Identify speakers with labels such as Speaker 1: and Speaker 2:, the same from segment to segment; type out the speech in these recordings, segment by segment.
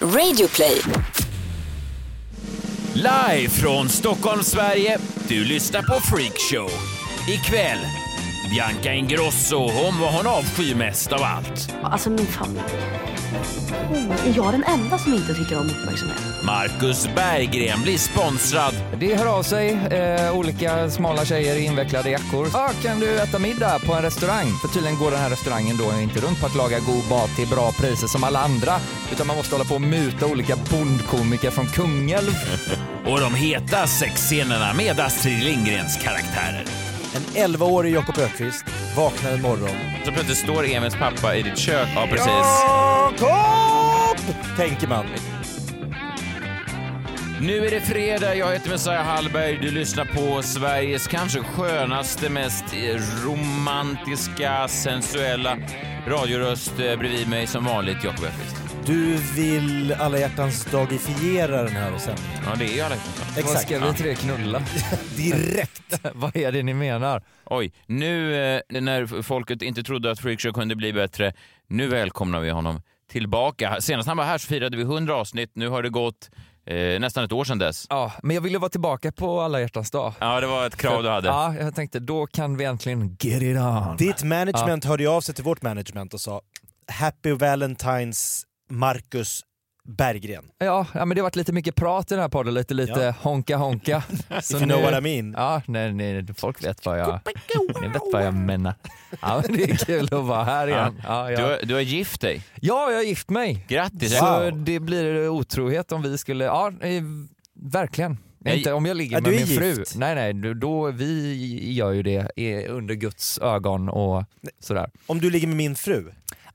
Speaker 1: Radioplay.
Speaker 2: Live från Stockholm, Sverige. Du lyssnar på Freakshow. Ikväll, Bianca Ingrosso, hon var hon avskyr mest av allt.
Speaker 3: Alltså min familj. Är jag den enda som inte tycker om uppmärksamhet?
Speaker 2: Marcus Berggren blir sponsrad.
Speaker 4: Det hör av sig eh, olika smala tjejer i invecklade jackor. Ah, kan du äta middag på en restaurang? För tydligen går den här restaurangen då inte runt på att laga god mat till bra priser som alla andra, utan man måste hålla på och muta olika bondkomiker från Kungälv.
Speaker 2: Och de heta sexscenerna med Astrid Lindgrens karaktärer.
Speaker 5: En 11-årig Jakob Ökvist vaknar en morgon.
Speaker 6: Så plötsligt står Emils pappa i ditt kök. Ja, precis.
Speaker 5: Jakob! Tänker man.
Speaker 2: Nu är det fredag, jag heter Messiah Hallberg. Du lyssnar på Sveriges kanske skönaste, mest eh, romantiska, sensuella radioröst eh, bredvid mig som vanligt, Jakob Öqvist.
Speaker 5: Du vill alla hjärtans dagifiera den här sändningen.
Speaker 2: Ja, det är ju alla hjärtans dag.
Speaker 4: Vad
Speaker 5: Exakt.
Speaker 4: ska vi tre knulla?
Speaker 5: Direkt.
Speaker 4: Vad är det ni menar?
Speaker 2: Oj, nu eh, när folket inte trodde att Freakshow kunde bli bättre, nu välkomnar vi honom tillbaka. Senast han var här så firade vi 100 avsnitt, nu har det gått eh, nästan ett år sedan dess.
Speaker 4: Ja, men jag ville vara tillbaka på alla hjärtans dag.
Speaker 2: Ja, det var ett krav du hade.
Speaker 4: Ja, jag tänkte då kan vi äntligen get it on.
Speaker 5: Ditt management hörde ju av sig till vårt management och sa Happy Valentines Marcus Berggren.
Speaker 4: Ja, ja, men det har varit lite mycket prat i den här podden, lite lite
Speaker 5: Ja.
Speaker 4: honka honka. Så
Speaker 5: If you know what I mean.
Speaker 4: Ja, nej, nej, folk vet vad jag, ni vet vad jag menar. Ja, men det är kul att vara här igen. Ja,
Speaker 2: Du,
Speaker 4: ja.
Speaker 2: har- du har gift dig.
Speaker 4: ja jag har gift mig.
Speaker 2: Grattis!
Speaker 4: Så
Speaker 5: Wow.
Speaker 4: det blir otrohet om vi skulle, ja eh, verkligen.
Speaker 2: Jag-
Speaker 4: Inte om jag ligger
Speaker 5: Ja,
Speaker 4: med
Speaker 5: du är
Speaker 4: min fru.
Speaker 5: gift.
Speaker 4: Nej, nej, då- då, vi gör ju det eh, under Guds ögon och sådär.
Speaker 5: Om du ligger med min fru.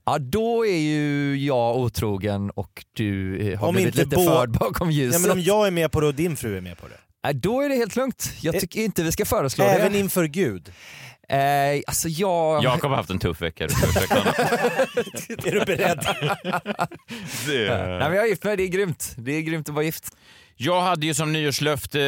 Speaker 4: Ja, då är ju jag otrogen och du eh, har
Speaker 5: Om
Speaker 4: blivit
Speaker 5: inte
Speaker 4: lite
Speaker 5: bå-
Speaker 4: förd bakom
Speaker 5: Ja,
Speaker 4: ljuset.
Speaker 5: men om jag är med på det och din fru är med på det.
Speaker 4: Nej, då är det helt lugnt. Jag
Speaker 5: Ä-
Speaker 4: tycker inte vi ska föreslå
Speaker 5: Även
Speaker 4: det.
Speaker 5: inför Gud.
Speaker 4: Eh, alltså jag...
Speaker 2: Jakob har haft en tuff vecka. Du får ursäkta honom.
Speaker 5: Är du beredd?
Speaker 2: Eh.
Speaker 4: Nej, men jag är gift med dig. det är grymt. Det är grymt att vara gift.
Speaker 2: Jag hade ju som nyårslöfte,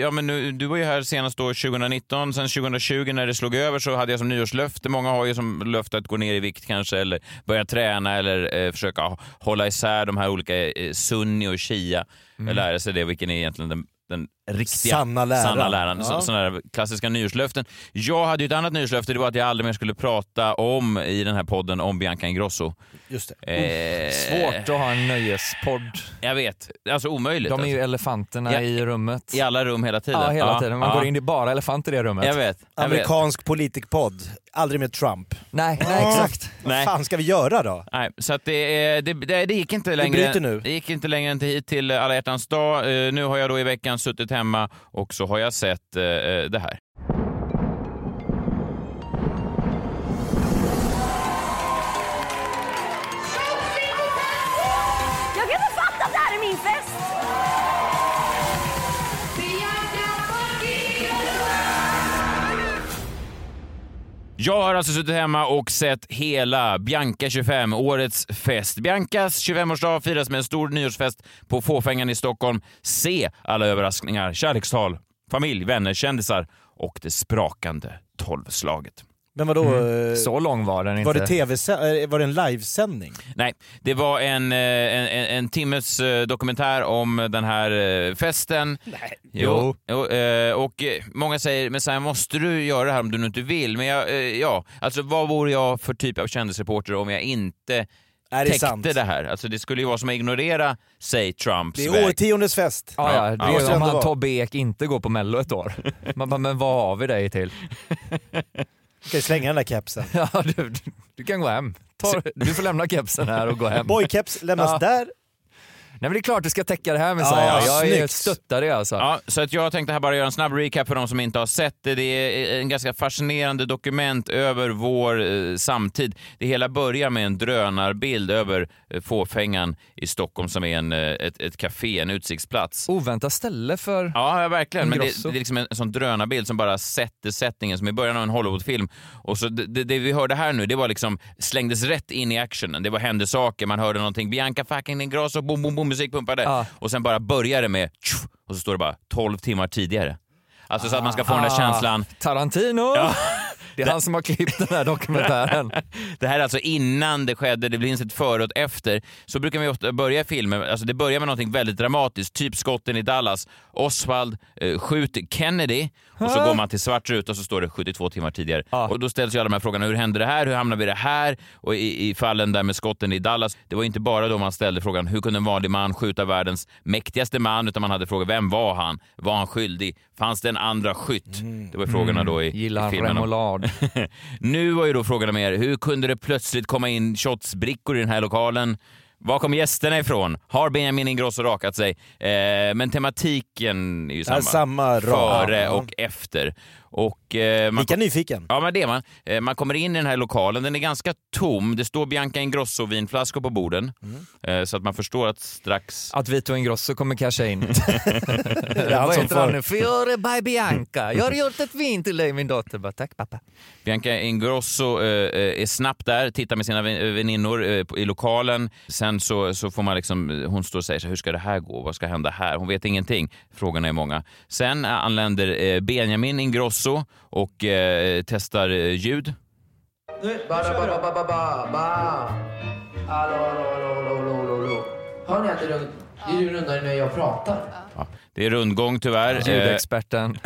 Speaker 2: ja men nu, du var ju här senast då 2019, sen 2020 när det slog över så hade jag som nyårslöfte, många har ju som löfte att gå ner i vikt kanske eller börja träna eller eh, försöka h- hålla isär de här olika eh, sunni och shia, mm. lära sig det, vilken är egentligen den, den riktiga
Speaker 5: Sanna läran.
Speaker 2: sanna läran.
Speaker 5: Ja.
Speaker 2: Så, sådana där klassiska nyårslöften. Jag hade ju ett annat nyårslöfte, det var att jag aldrig mer skulle prata om i den här podden om Bianca Ingrosso.
Speaker 5: Just det.
Speaker 2: Eh,
Speaker 4: Svårt att ha en nöjespodd.
Speaker 2: Jag vet, alltså omöjligt.
Speaker 4: De är
Speaker 2: alltså.
Speaker 4: ju elefanterna
Speaker 2: Ja.
Speaker 4: i rummet.
Speaker 2: I alla rum hela tiden.
Speaker 4: Ja, hela tiden. Man
Speaker 2: ja.
Speaker 4: går in, det är bara elefanter i det rummet.
Speaker 2: Jag vet. Jag vet.
Speaker 5: Amerikansk politikpodd. Aldrig med Trump.
Speaker 4: Nej, nej, exakt.
Speaker 2: Nej.
Speaker 5: Vad fan ska vi göra då?
Speaker 2: Nej, så att det, är- det, det, det gick inte längre.
Speaker 5: bryter nu.
Speaker 2: Det gick inte längre än till, hit till alla hjärtans dag. Eh, nu har jag då i veckan suttit hemma och så har jag sett eh, eh, det här.
Speaker 3: Jag kan inte fatta att det här är min fest!
Speaker 2: Jag har alltså suttit hemma och sett hela Bianca 25, årets fest. Biancas 25-årsdag firas med en stor nyårsfest på Fåfängan i Stockholm. Se alla överraskningar, kärlekstal, familj, vänner, kändisar och det sprakande tolvslaget.
Speaker 5: Men vadå? eh,
Speaker 4: Mm. Så lång var den inte.
Speaker 5: Var det, TV eh, var det en livesändning?
Speaker 2: Nej, det var en, eh, en, en, en timmes eh, dokumentär om den här eh, festen. Nej. Jo. jo eh, och eh, många säger, men sen måste du göra det här om du nu inte vill. Men jag, eh, ja, alltså vad vore jag för typ av kändisreporter om jag inte
Speaker 5: Är det
Speaker 2: täckte
Speaker 5: sant?
Speaker 2: det här? Alltså det skulle ju vara som att ignorera, säg Trumps
Speaker 5: Det
Speaker 2: väg.
Speaker 5: är årtiondets fest.
Speaker 4: Ja, ja, det är
Speaker 5: måste
Speaker 4: ju om
Speaker 5: ändå
Speaker 4: han
Speaker 5: vara.
Speaker 4: Tobbe Ek inte går på mello ett år. Man bara, men vad har vi dig till?
Speaker 5: Ska jag slänga den där kepsen?
Speaker 4: Ja, du, du kan gå hem. Ta, du får lämna kepsen här och gå hem.
Speaker 5: Boykeps lämnas
Speaker 4: Ja.
Speaker 5: där.
Speaker 4: Nej men det är klart du ska täcka det här med
Speaker 5: Ja,
Speaker 4: ja, Jag är
Speaker 5: snyggt.
Speaker 4: stöttar det alltså.
Speaker 2: Ja, så att jag tänkte här bara göra en snabb recap för de som inte har sett det. Det är en ganska fascinerande dokument över vår eh, samtid. Det hela börjar med en drönarbild över eh, Fåfängan i Stockholm som är en, eh, ett, ett café, en utsiktsplats.
Speaker 4: Oväntat ställe för...
Speaker 2: Ja, ja, verkligen. Men det, det
Speaker 4: Ingrosso.
Speaker 2: är liksom en sån drönarbild som bara sätter sättningen, som i början av en Hollywoodfilm. Och så det, det- det vi hörde här nu, det var liksom slängdes rätt in i actionen. Det var hände saker, man hörde någonting, Bianca fucking Ingrosso, boom, boom, boom, musik pumpade.
Speaker 4: Ja.
Speaker 2: Och sen bara började det med tjoff, och så står det bara 12 timmar tidigare. Alltså så att man ska få den där känslan,
Speaker 4: Ah, Tarantino! Det är han som har klippt den här dokumentären.
Speaker 2: Det här är alltså innan det skedde, det finns ett före och ett efter. Så brukar man ju ofta börja filmer, alltså det börjar med någonting väldigt dramatiskt, typ skotten i Dallas. Oswald eh, skjuter Kennedy och så går man till svart ruta och så står det 72 timmar tidigare.
Speaker 4: Ja.
Speaker 2: Och då ställs ju alla de här frågorna, hur hände det här, hur hamnar vi i det här? Och i, i fallen där med skotten i Dallas, det var ju inte bara då man ställde frågan, hur kunde en vanlig man skjuta världens mäktigaste man? Utan man hade frågan, vem var han? Var han skyldig? Fanns det en andra skytt? Det var ju frågorna då i,
Speaker 4: Mm. Gillar
Speaker 2: i
Speaker 4: han
Speaker 2: filmen. om-
Speaker 4: remoulad?
Speaker 2: nu var ju då frågan om er, hur kunde det plötsligt komma in shotsbrickor i den här lokalen? Var kom gästerna ifrån? Har Benjamin Ingrosso rakat sig? Eh, men tematiken är ju samma.
Speaker 5: Ja, samma ram.
Speaker 2: Före
Speaker 5: Ja.
Speaker 2: och efter. Och, eh, man
Speaker 5: Lika nyfiken.
Speaker 2: Ja, men det är man. Eh, Man kommer in i den här lokalen, den är ganska tom. Det står Bianca Ingrosso-vinflaskor på borden.
Speaker 5: Mm.
Speaker 2: Eh, Så att man förstår att strax...
Speaker 4: Att Vito Ingrosso kommer casha in.
Speaker 5: Det är han
Speaker 4: Vad
Speaker 5: som
Speaker 4: heter han
Speaker 5: får...
Speaker 4: nu? Fiore by Bianca. Jag har gjort ett vin till dig min dotter. Bara, Tack pappa.
Speaker 2: Bianca Ingrosso eh, eh, är snabbt där, tittar med sina vä- väninnor eh, på- i lokalen. Sen så, så får man liksom, hon står och säger så här, hur ska det här gå? Vad ska hända här? Hon vet ingenting. Frågorna är många. Sen eh, anländer eh, Benjamin Ingrosso och eh, testar eh, ljud.
Speaker 1: Bara, bara, bara, bara, bara, bara. Hallå, hallå, hallå, hallå, hallå, hallå. Hör ni att det rund- det rundar när jag pratar?
Speaker 2: Ja, det är rundgång tyvärr. Eh,
Speaker 4: Ljudexperten.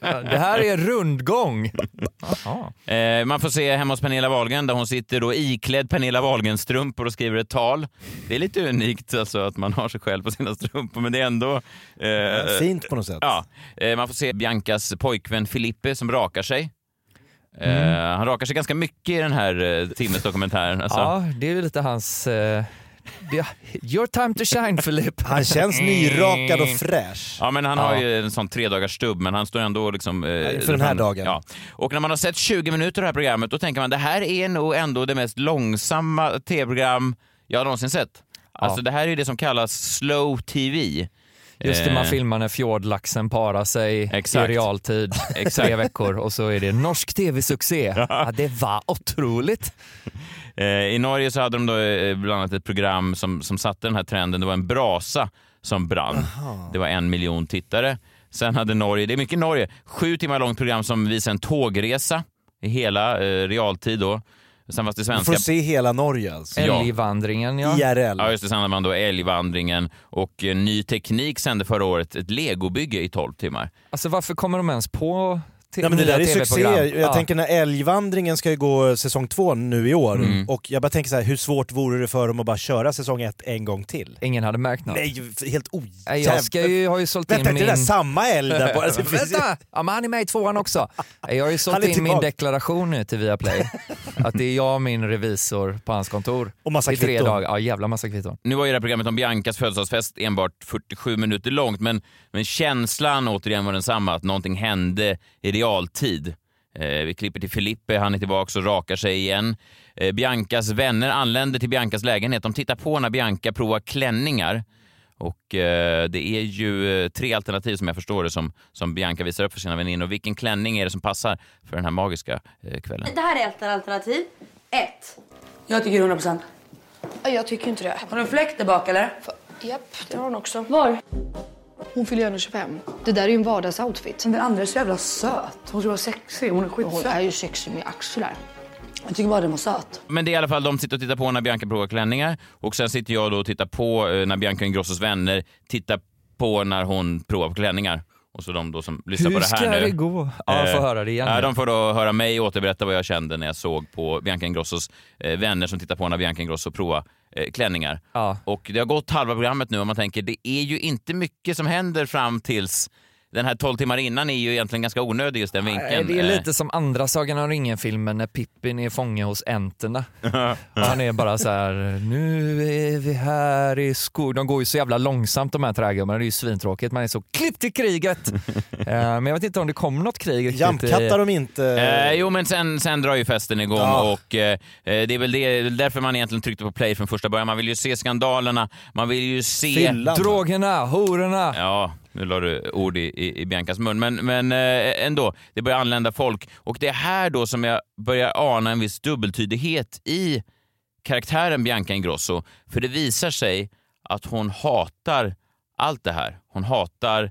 Speaker 4: Det här är rundgång. Jaha.
Speaker 2: Eh, man får se hemma hos Pernilla Wahlgren där hon sitter då iklädd Pernilla Wahlgren-strumpor och skriver ett tal. Det är lite unikt alltså att man har sig själv på sina strumpor men det är ändå... eh,
Speaker 5: Fint på något sätt.
Speaker 2: Ja, eh, man får se Biancas pojkvän Filippe som rakar sig. Eh, Han rakar sig ganska mycket i den här eh, timmes dokumentären. Alltså.
Speaker 4: Ja, det är ju lite hans... eh, det- Your time to shine Filip.
Speaker 5: Han känns nyrakad och fräsch.
Speaker 2: Ja, men han har
Speaker 4: Ja.
Speaker 2: ju en sån tre dagars stubb, men han står ändå liksom... eh,
Speaker 5: för den här
Speaker 2: fram-
Speaker 5: dagen.
Speaker 2: Ja. Och när man har sett 20 minuter av det här programmet, då tänker man det här är nog ändå det mest långsamma tv-program jag någonsin sett. Alltså det här är ju det som kallas slow TV.
Speaker 4: Just det, man
Speaker 2: Eh.
Speaker 4: filmar när fjordlaxen parar sig
Speaker 2: Exakt.
Speaker 4: i realtid tre veckor och så är det norsk tv-succé. Ja, det var otroligt.
Speaker 2: Eh, I Norge så hade de då eh, bland annat ett program som, som satte den här trenden. Det var en brasa som brann. Det var en miljon tittare. Sen hade Norge, det är mycket Norge, sju timmar långt program som visar en tågresa i hela eh, realtid då. Sen fanns det
Speaker 5: Du får
Speaker 2: svenska
Speaker 5: se hela Norge alltså.
Speaker 2: Ja.
Speaker 4: Älgvandringen ja.
Speaker 5: IRL.
Speaker 2: Ja, just det. Sen hade man då Älgvandringen och eh, Ny Teknik sände förra året ett legobygge i 12 timmar.
Speaker 4: Alltså varför kommer de ens på te-
Speaker 5: Ja, men det
Speaker 4: nya
Speaker 5: där är succé.
Speaker 4: TV-program?
Speaker 5: Jag
Speaker 4: Ja.
Speaker 5: tänker när Älgvandringen ska ju gå säsong två nu i år
Speaker 4: Mm.
Speaker 5: och jag bara tänker så här, hur svårt vore det för dem att bara köra säsong ett en gång till?
Speaker 4: Ingen hade märkt något.
Speaker 5: Nej, helt ojävligt.
Speaker 4: Nej, jag ska ju, har ju sålt
Speaker 5: Vänta,
Speaker 4: in
Speaker 5: det
Speaker 4: min...
Speaker 5: där är samma älg där bara. Alltså, det finns ju-
Speaker 4: Vänta! Ja, men han är med i tvåan också. Jag har ju sålt
Speaker 5: Han är
Speaker 4: in min
Speaker 5: tillbaka.
Speaker 4: deklaration nu till Viaplay. Att det är jag och min revisor på hans kontor.
Speaker 5: Och massa
Speaker 4: I tre
Speaker 5: kvitton.
Speaker 4: dagar. Ja, jävla massa kvitton.
Speaker 2: Nu var ju det här programmet om Biancas födelsedagsfest enbart 47 minuter långt, men, men känslan återigen var densamma, att någonting hände i realtid. Eh, vi klipper till Filippe, han är tillbaka och rakar sig igen. Eh, Biancas vänner anländer till Biancas lägenhet. De tittar på när Bianca provar klänningar. Och eh, det är ju eh, tre alternativ som jag förstår det som, som Bianca visar upp för sina väninnor. Vilken klänning är det som passar för den här magiska eh, kvällen?
Speaker 7: Det här är ett alternativ. Ett.
Speaker 8: Jag tycker 100 procent.
Speaker 9: Ja, Jag tycker inte det.
Speaker 8: Har du en fläkt där bak eller?
Speaker 9: Japp, det har hon också.
Speaker 3: Var?
Speaker 9: Hon fyller ju ändå 25. Det där är ju en vardagsoutfit.
Speaker 8: Men den andra är så jävla söt. Hon ska vara sexig. Hon är
Speaker 9: Hon
Speaker 8: skitsöt.
Speaker 9: är ju sexig med axlar.
Speaker 8: Jag tycker bara den var söt.
Speaker 2: Men det är i alla fall de sitter och tittar på när Bianca provar klänningar och sen sitter jag då och tittar på eh, när Bianca Ingrossos vänner tittar på när hon provar på klänningar. Och så de då som lyssnar
Speaker 4: Hur
Speaker 2: på det här
Speaker 4: ska
Speaker 2: nu.
Speaker 4: det gå? Ja, jag får
Speaker 2: Eh,
Speaker 4: höra det igen.
Speaker 2: Ja,
Speaker 4: nu.
Speaker 2: de får då höra mig återberätta vad jag kände när jag såg på Bianca Ingrossos eh, vänner som tittar på när Bianca Ingrosso provar eh, klänningar.
Speaker 4: Ja.
Speaker 2: Och det har gått halva programmet nu och man tänker det är ju inte mycket som händer fram tills den här 12 timmar innan är ju egentligen ganska onödig just den vinkeln.
Speaker 4: Nej, Det är
Speaker 2: Eh,
Speaker 4: lite som andra Sagan om ringen-filmen när Pippin är fånge hos enterna. Och han är bara så här, nu är vi här i skog. De går ju så jävla långsamt de här trägubbarna, det är ju svintråkigt. Man är så klipp till kriget. Eh, Men jag vet inte om det kom något krig riktigt. i-
Speaker 5: Jamkattar de inte?
Speaker 2: Eh, jo, men sen, sen drar ju festen igång
Speaker 5: Ja.
Speaker 2: och eh, eh, det är väl det, det är därför man egentligen tryckte på play från första början. Man vill ju se skandalerna, man vill ju se...
Speaker 5: Fyllan.
Speaker 4: Drogerna, hororna.
Speaker 2: Ja, nu la du ord i, i, i Biancas mun, men, men eh, ändå. Det börjar anlända folk och det är här då som jag börjar ana en viss dubbeltydighet i karaktären Bianca Ingrosso. För det visar sig att hon hatar allt det här. Hon hatar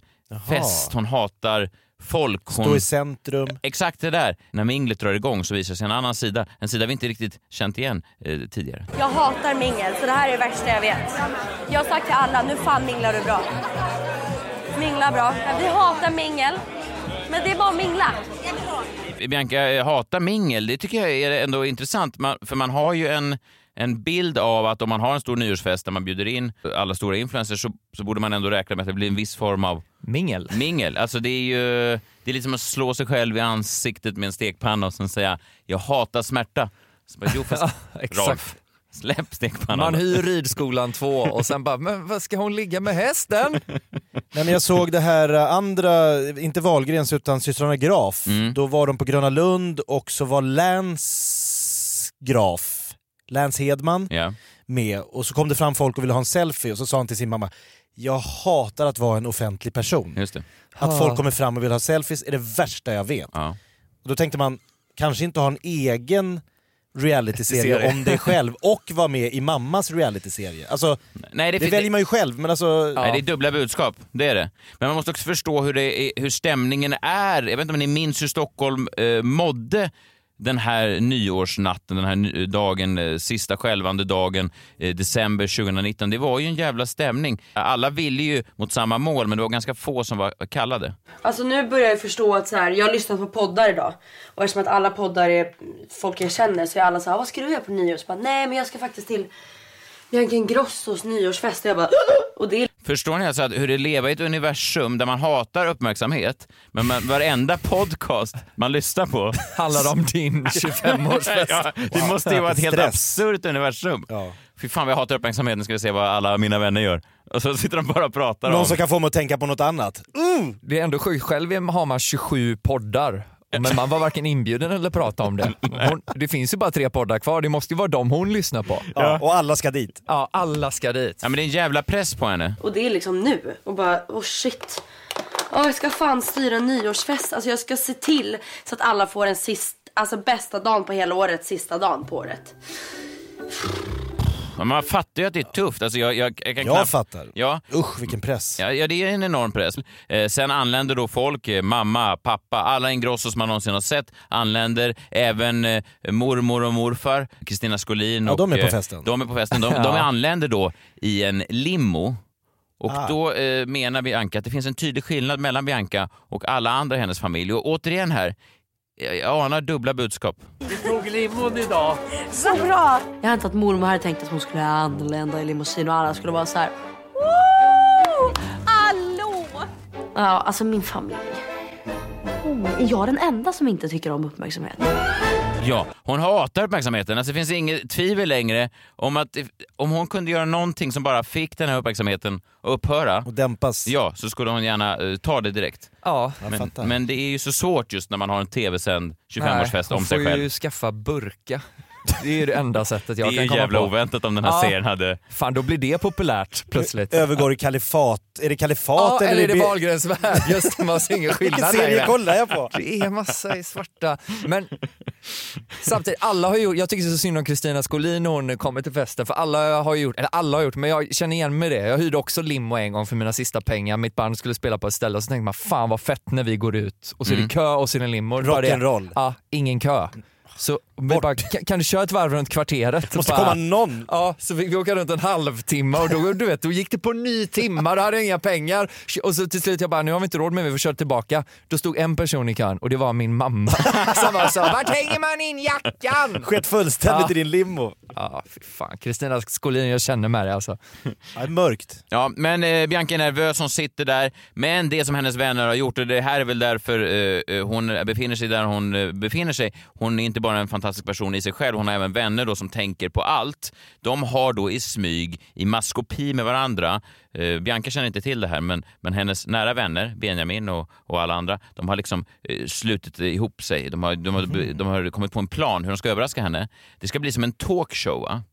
Speaker 2: fest, hon hatar folk. Hon...
Speaker 5: Stå i centrum.
Speaker 2: Exakt det där. När minglet drar igång så visar sig en annan sida. En sida vi inte riktigt känt igen eh, tidigare.
Speaker 7: Jag hatar mingel, så det här är det värsta jag vet. Jag har sagt till alla, nu fan minglar du bra. Mingla bra. Vi hatar mingel, men det är bara att mingla.
Speaker 2: Bianca eh, hatar mingel. Det tycker jag är ändå intressant, man, för man har ju en, en bild av att om man har en stor nyårsfest där man bjuder in alla stora influencers så, så borde man ändå räkna med att det blir en viss form av
Speaker 4: Mingel.
Speaker 2: mingel. Alltså det är ju det är liksom att slå sig själv i ansiktet med en stekpanna och sen säga “jag hatar smärta”. Så bara, jo fast
Speaker 4: exakt.
Speaker 2: Rolf, släpp stekpannan.
Speaker 4: Man hyr ridskolan två och sen bara, men vad ska hon ligga med hästen?
Speaker 5: Nej, men jag såg det här eh, andra, inte Wahlgrens utan systrarna Graf.
Speaker 4: Mm.
Speaker 5: Då var de på Gröna Lund och så var Lance Graf, Lance Hedman,
Speaker 2: Ja.
Speaker 5: med. Och så kom det fram folk och ville ha en selfie och så sa han till sin mamma jag hatar att vara en offentlig person.
Speaker 2: Just det.
Speaker 5: Att folk kommer fram och vill ha selfies är det värsta jag vet.
Speaker 2: Ja.
Speaker 5: Och då tänkte man, kanske inte ha en egen realityserie
Speaker 4: Serie.
Speaker 5: om dig själv och vara med i mammas realityserie. Alltså,
Speaker 2: Nej, det,
Speaker 5: det väljer man ju själv men alltså...
Speaker 2: Nej, det är dubbla budskap, det är det. Men man måste också förstå hur, det är, hur stämningen är. Jag vet inte om ni minns hur Stockholm eh, mådde den här nyårsnatten, den här ny- dagen, eh, sista skälvande dagen, eh, december 2019. Det var ju en jävla stämning. Alla ville ju mot samma mål, men det var ganska få som var kallade.
Speaker 7: Alltså nu börjar jag förstå att så här, jag har lyssnat på poddar idag och eftersom att alla poddar är folk jag känner så är alla så här, vad ska du göra på nyår? Så bara, nej men jag ska faktiskt till Bianca Ingrossos nyårsfest och jag bara, och det är
Speaker 2: Förstår ni alltså att hur det lever i ett universum där man hatar uppmärksamhet, men man, varenda podcast man lyssnar på
Speaker 4: Handlar om din 25-årsfest.
Speaker 2: Ja, det måste ju vara ett helt
Speaker 5: Stress.
Speaker 2: absurt universum.
Speaker 5: Ja.
Speaker 2: Fy fan vad jag hatar uppmärksamhet, nu ska vi se vad alla mina vänner gör. Och så sitter de bara och pratar om...
Speaker 5: Någon som kan få mig att tänka på något annat.
Speaker 4: Det är ändå sjukt, själv har man 27 poddar. Men man var varken inbjuden eller pratade om det. Hon, det finns ju bara tre poddar kvar, det måste ju vara de hon lyssnar på.
Speaker 5: Ja, och alla ska dit.
Speaker 4: Ja, alla ska dit.
Speaker 2: Ja men det är en jävla press på henne.
Speaker 7: Och det är liksom nu. Och bara, oh shit. Ja, jag ska fan styra en nyårsfest. Alltså jag ska se till så att alla får en sist, alltså bästa dagen på hela året, sista dagen på året.
Speaker 2: Men man fattar ju att det är tufft. Alltså jag, jag, jag kan
Speaker 5: Jag
Speaker 2: knappt...
Speaker 5: fattar.
Speaker 2: Ja.
Speaker 5: Usch vilken press.
Speaker 2: Ja, ja, det är en enorm press. Eh, sen anländer då folk, eh, mamma, pappa, alla Ingrossos man någonsin har sett anländer. Även eh, mormor och morfar, Kristina Skolin
Speaker 5: Ja,
Speaker 2: och...
Speaker 5: de är på
Speaker 2: eh,
Speaker 5: festen.
Speaker 2: De är på festen. De, de anländer då i en limo. Och
Speaker 5: Ah.
Speaker 2: då eh, menar Bianca att det finns en tydlig skillnad mellan Bianca och alla andra i hennes familj. Och återigen här, jag, jag anar dubbla budskap.
Speaker 7: Så bra! Jag har inte att mormor hade tänkt att hon skulle anlända i limousin och alla skulle vara så här. "Woo! Hallå! Ja, alltså min familj.
Speaker 3: Är jag den enda som inte tycker om uppmärksamhet?
Speaker 2: Ja, hon hatar uppmärksamheten. Alltså, det finns inget tvivel längre om att if- om hon kunde göra någonting som bara fick den här uppmärksamheten att upphöra,
Speaker 5: Och dämpas.
Speaker 2: ja, så skulle hon gärna eh, ta det direkt.
Speaker 4: Ja.
Speaker 2: Men,
Speaker 5: fattar.
Speaker 2: men det är ju så svårt just när man har en tv-sänd 25-årsfest
Speaker 4: Nej,
Speaker 2: om sig
Speaker 4: Hon får ju
Speaker 2: själv.
Speaker 4: skaffa burka. Det är ju det enda sättet
Speaker 2: Det
Speaker 4: jag
Speaker 2: är
Speaker 4: kan
Speaker 2: ju
Speaker 4: komma
Speaker 2: jävla
Speaker 4: på.
Speaker 2: oväntat om den här
Speaker 4: Ja.
Speaker 2: serien hade...
Speaker 4: Fan, då blir det populärt plötsligt.
Speaker 5: Övergår i kalifat. Är det kalifat
Speaker 4: Ja, eller är det
Speaker 5: bi-
Speaker 4: Wahlgrens värld? Just det, man ser ingen
Speaker 5: Vilken
Speaker 4: skillnad
Speaker 5: serie
Speaker 4: längre.
Speaker 5: kollar jag på?
Speaker 4: Det är massa i svarta. Men samtidigt, alla har ju gjort, jag tycker så synd om Kristina Skolin när hon kommer till festen för alla har ju gjort, eller alla har gjort, men jag känner igen mig i det. Jag hyrde också limo en gång för mina sista pengar, mitt band skulle spela på ett ställe och så tänkte man fan vad fett när vi går ut och så är det kö och så är det limo. Bara det-
Speaker 5: Mm. Rock'n'roll.
Speaker 4: Ja, ingen kö. Så vi bara, kan, kan du köra ett varv runt kvarteret?
Speaker 5: Måste
Speaker 4: Bara-
Speaker 5: komma någon.
Speaker 4: Ja, så fick vi åka runt en halvtimme och då, du vet, då gick det på en ny timme och då hade jag inga pengar. Och så till slut jag bara, nu har vi inte råd med vi får köra tillbaka. Då stod en person i kön och det var min mamma som bara sa, vart hänger man in jackan?
Speaker 5: Sket fullständigt
Speaker 4: Ja.
Speaker 5: i din limo.
Speaker 4: Ja, fy fan. Kristina Skolin, jag känner med dig alltså.
Speaker 5: Ja, det är mörkt.
Speaker 2: Ja, men eh, Bianca är nervös, hon sitter där. Men det som hennes vänner har gjort, och det här är väl därför eh, eh, hon befinner sig där hon eh, befinner sig. Hon är inte bara en fantastisk person i sig själv, hon har även vänner då som tänker på allt. De har då i smyg, i maskopi med varandra, eh, Bianca känner inte till det här, men, men hennes nära vänner, Benjamin och, och alla andra, de har liksom eh, slutit ihop sig. De har, de, har, de har kommit på en plan hur de ska överraska henne. Det ska bli som en talkshow, va?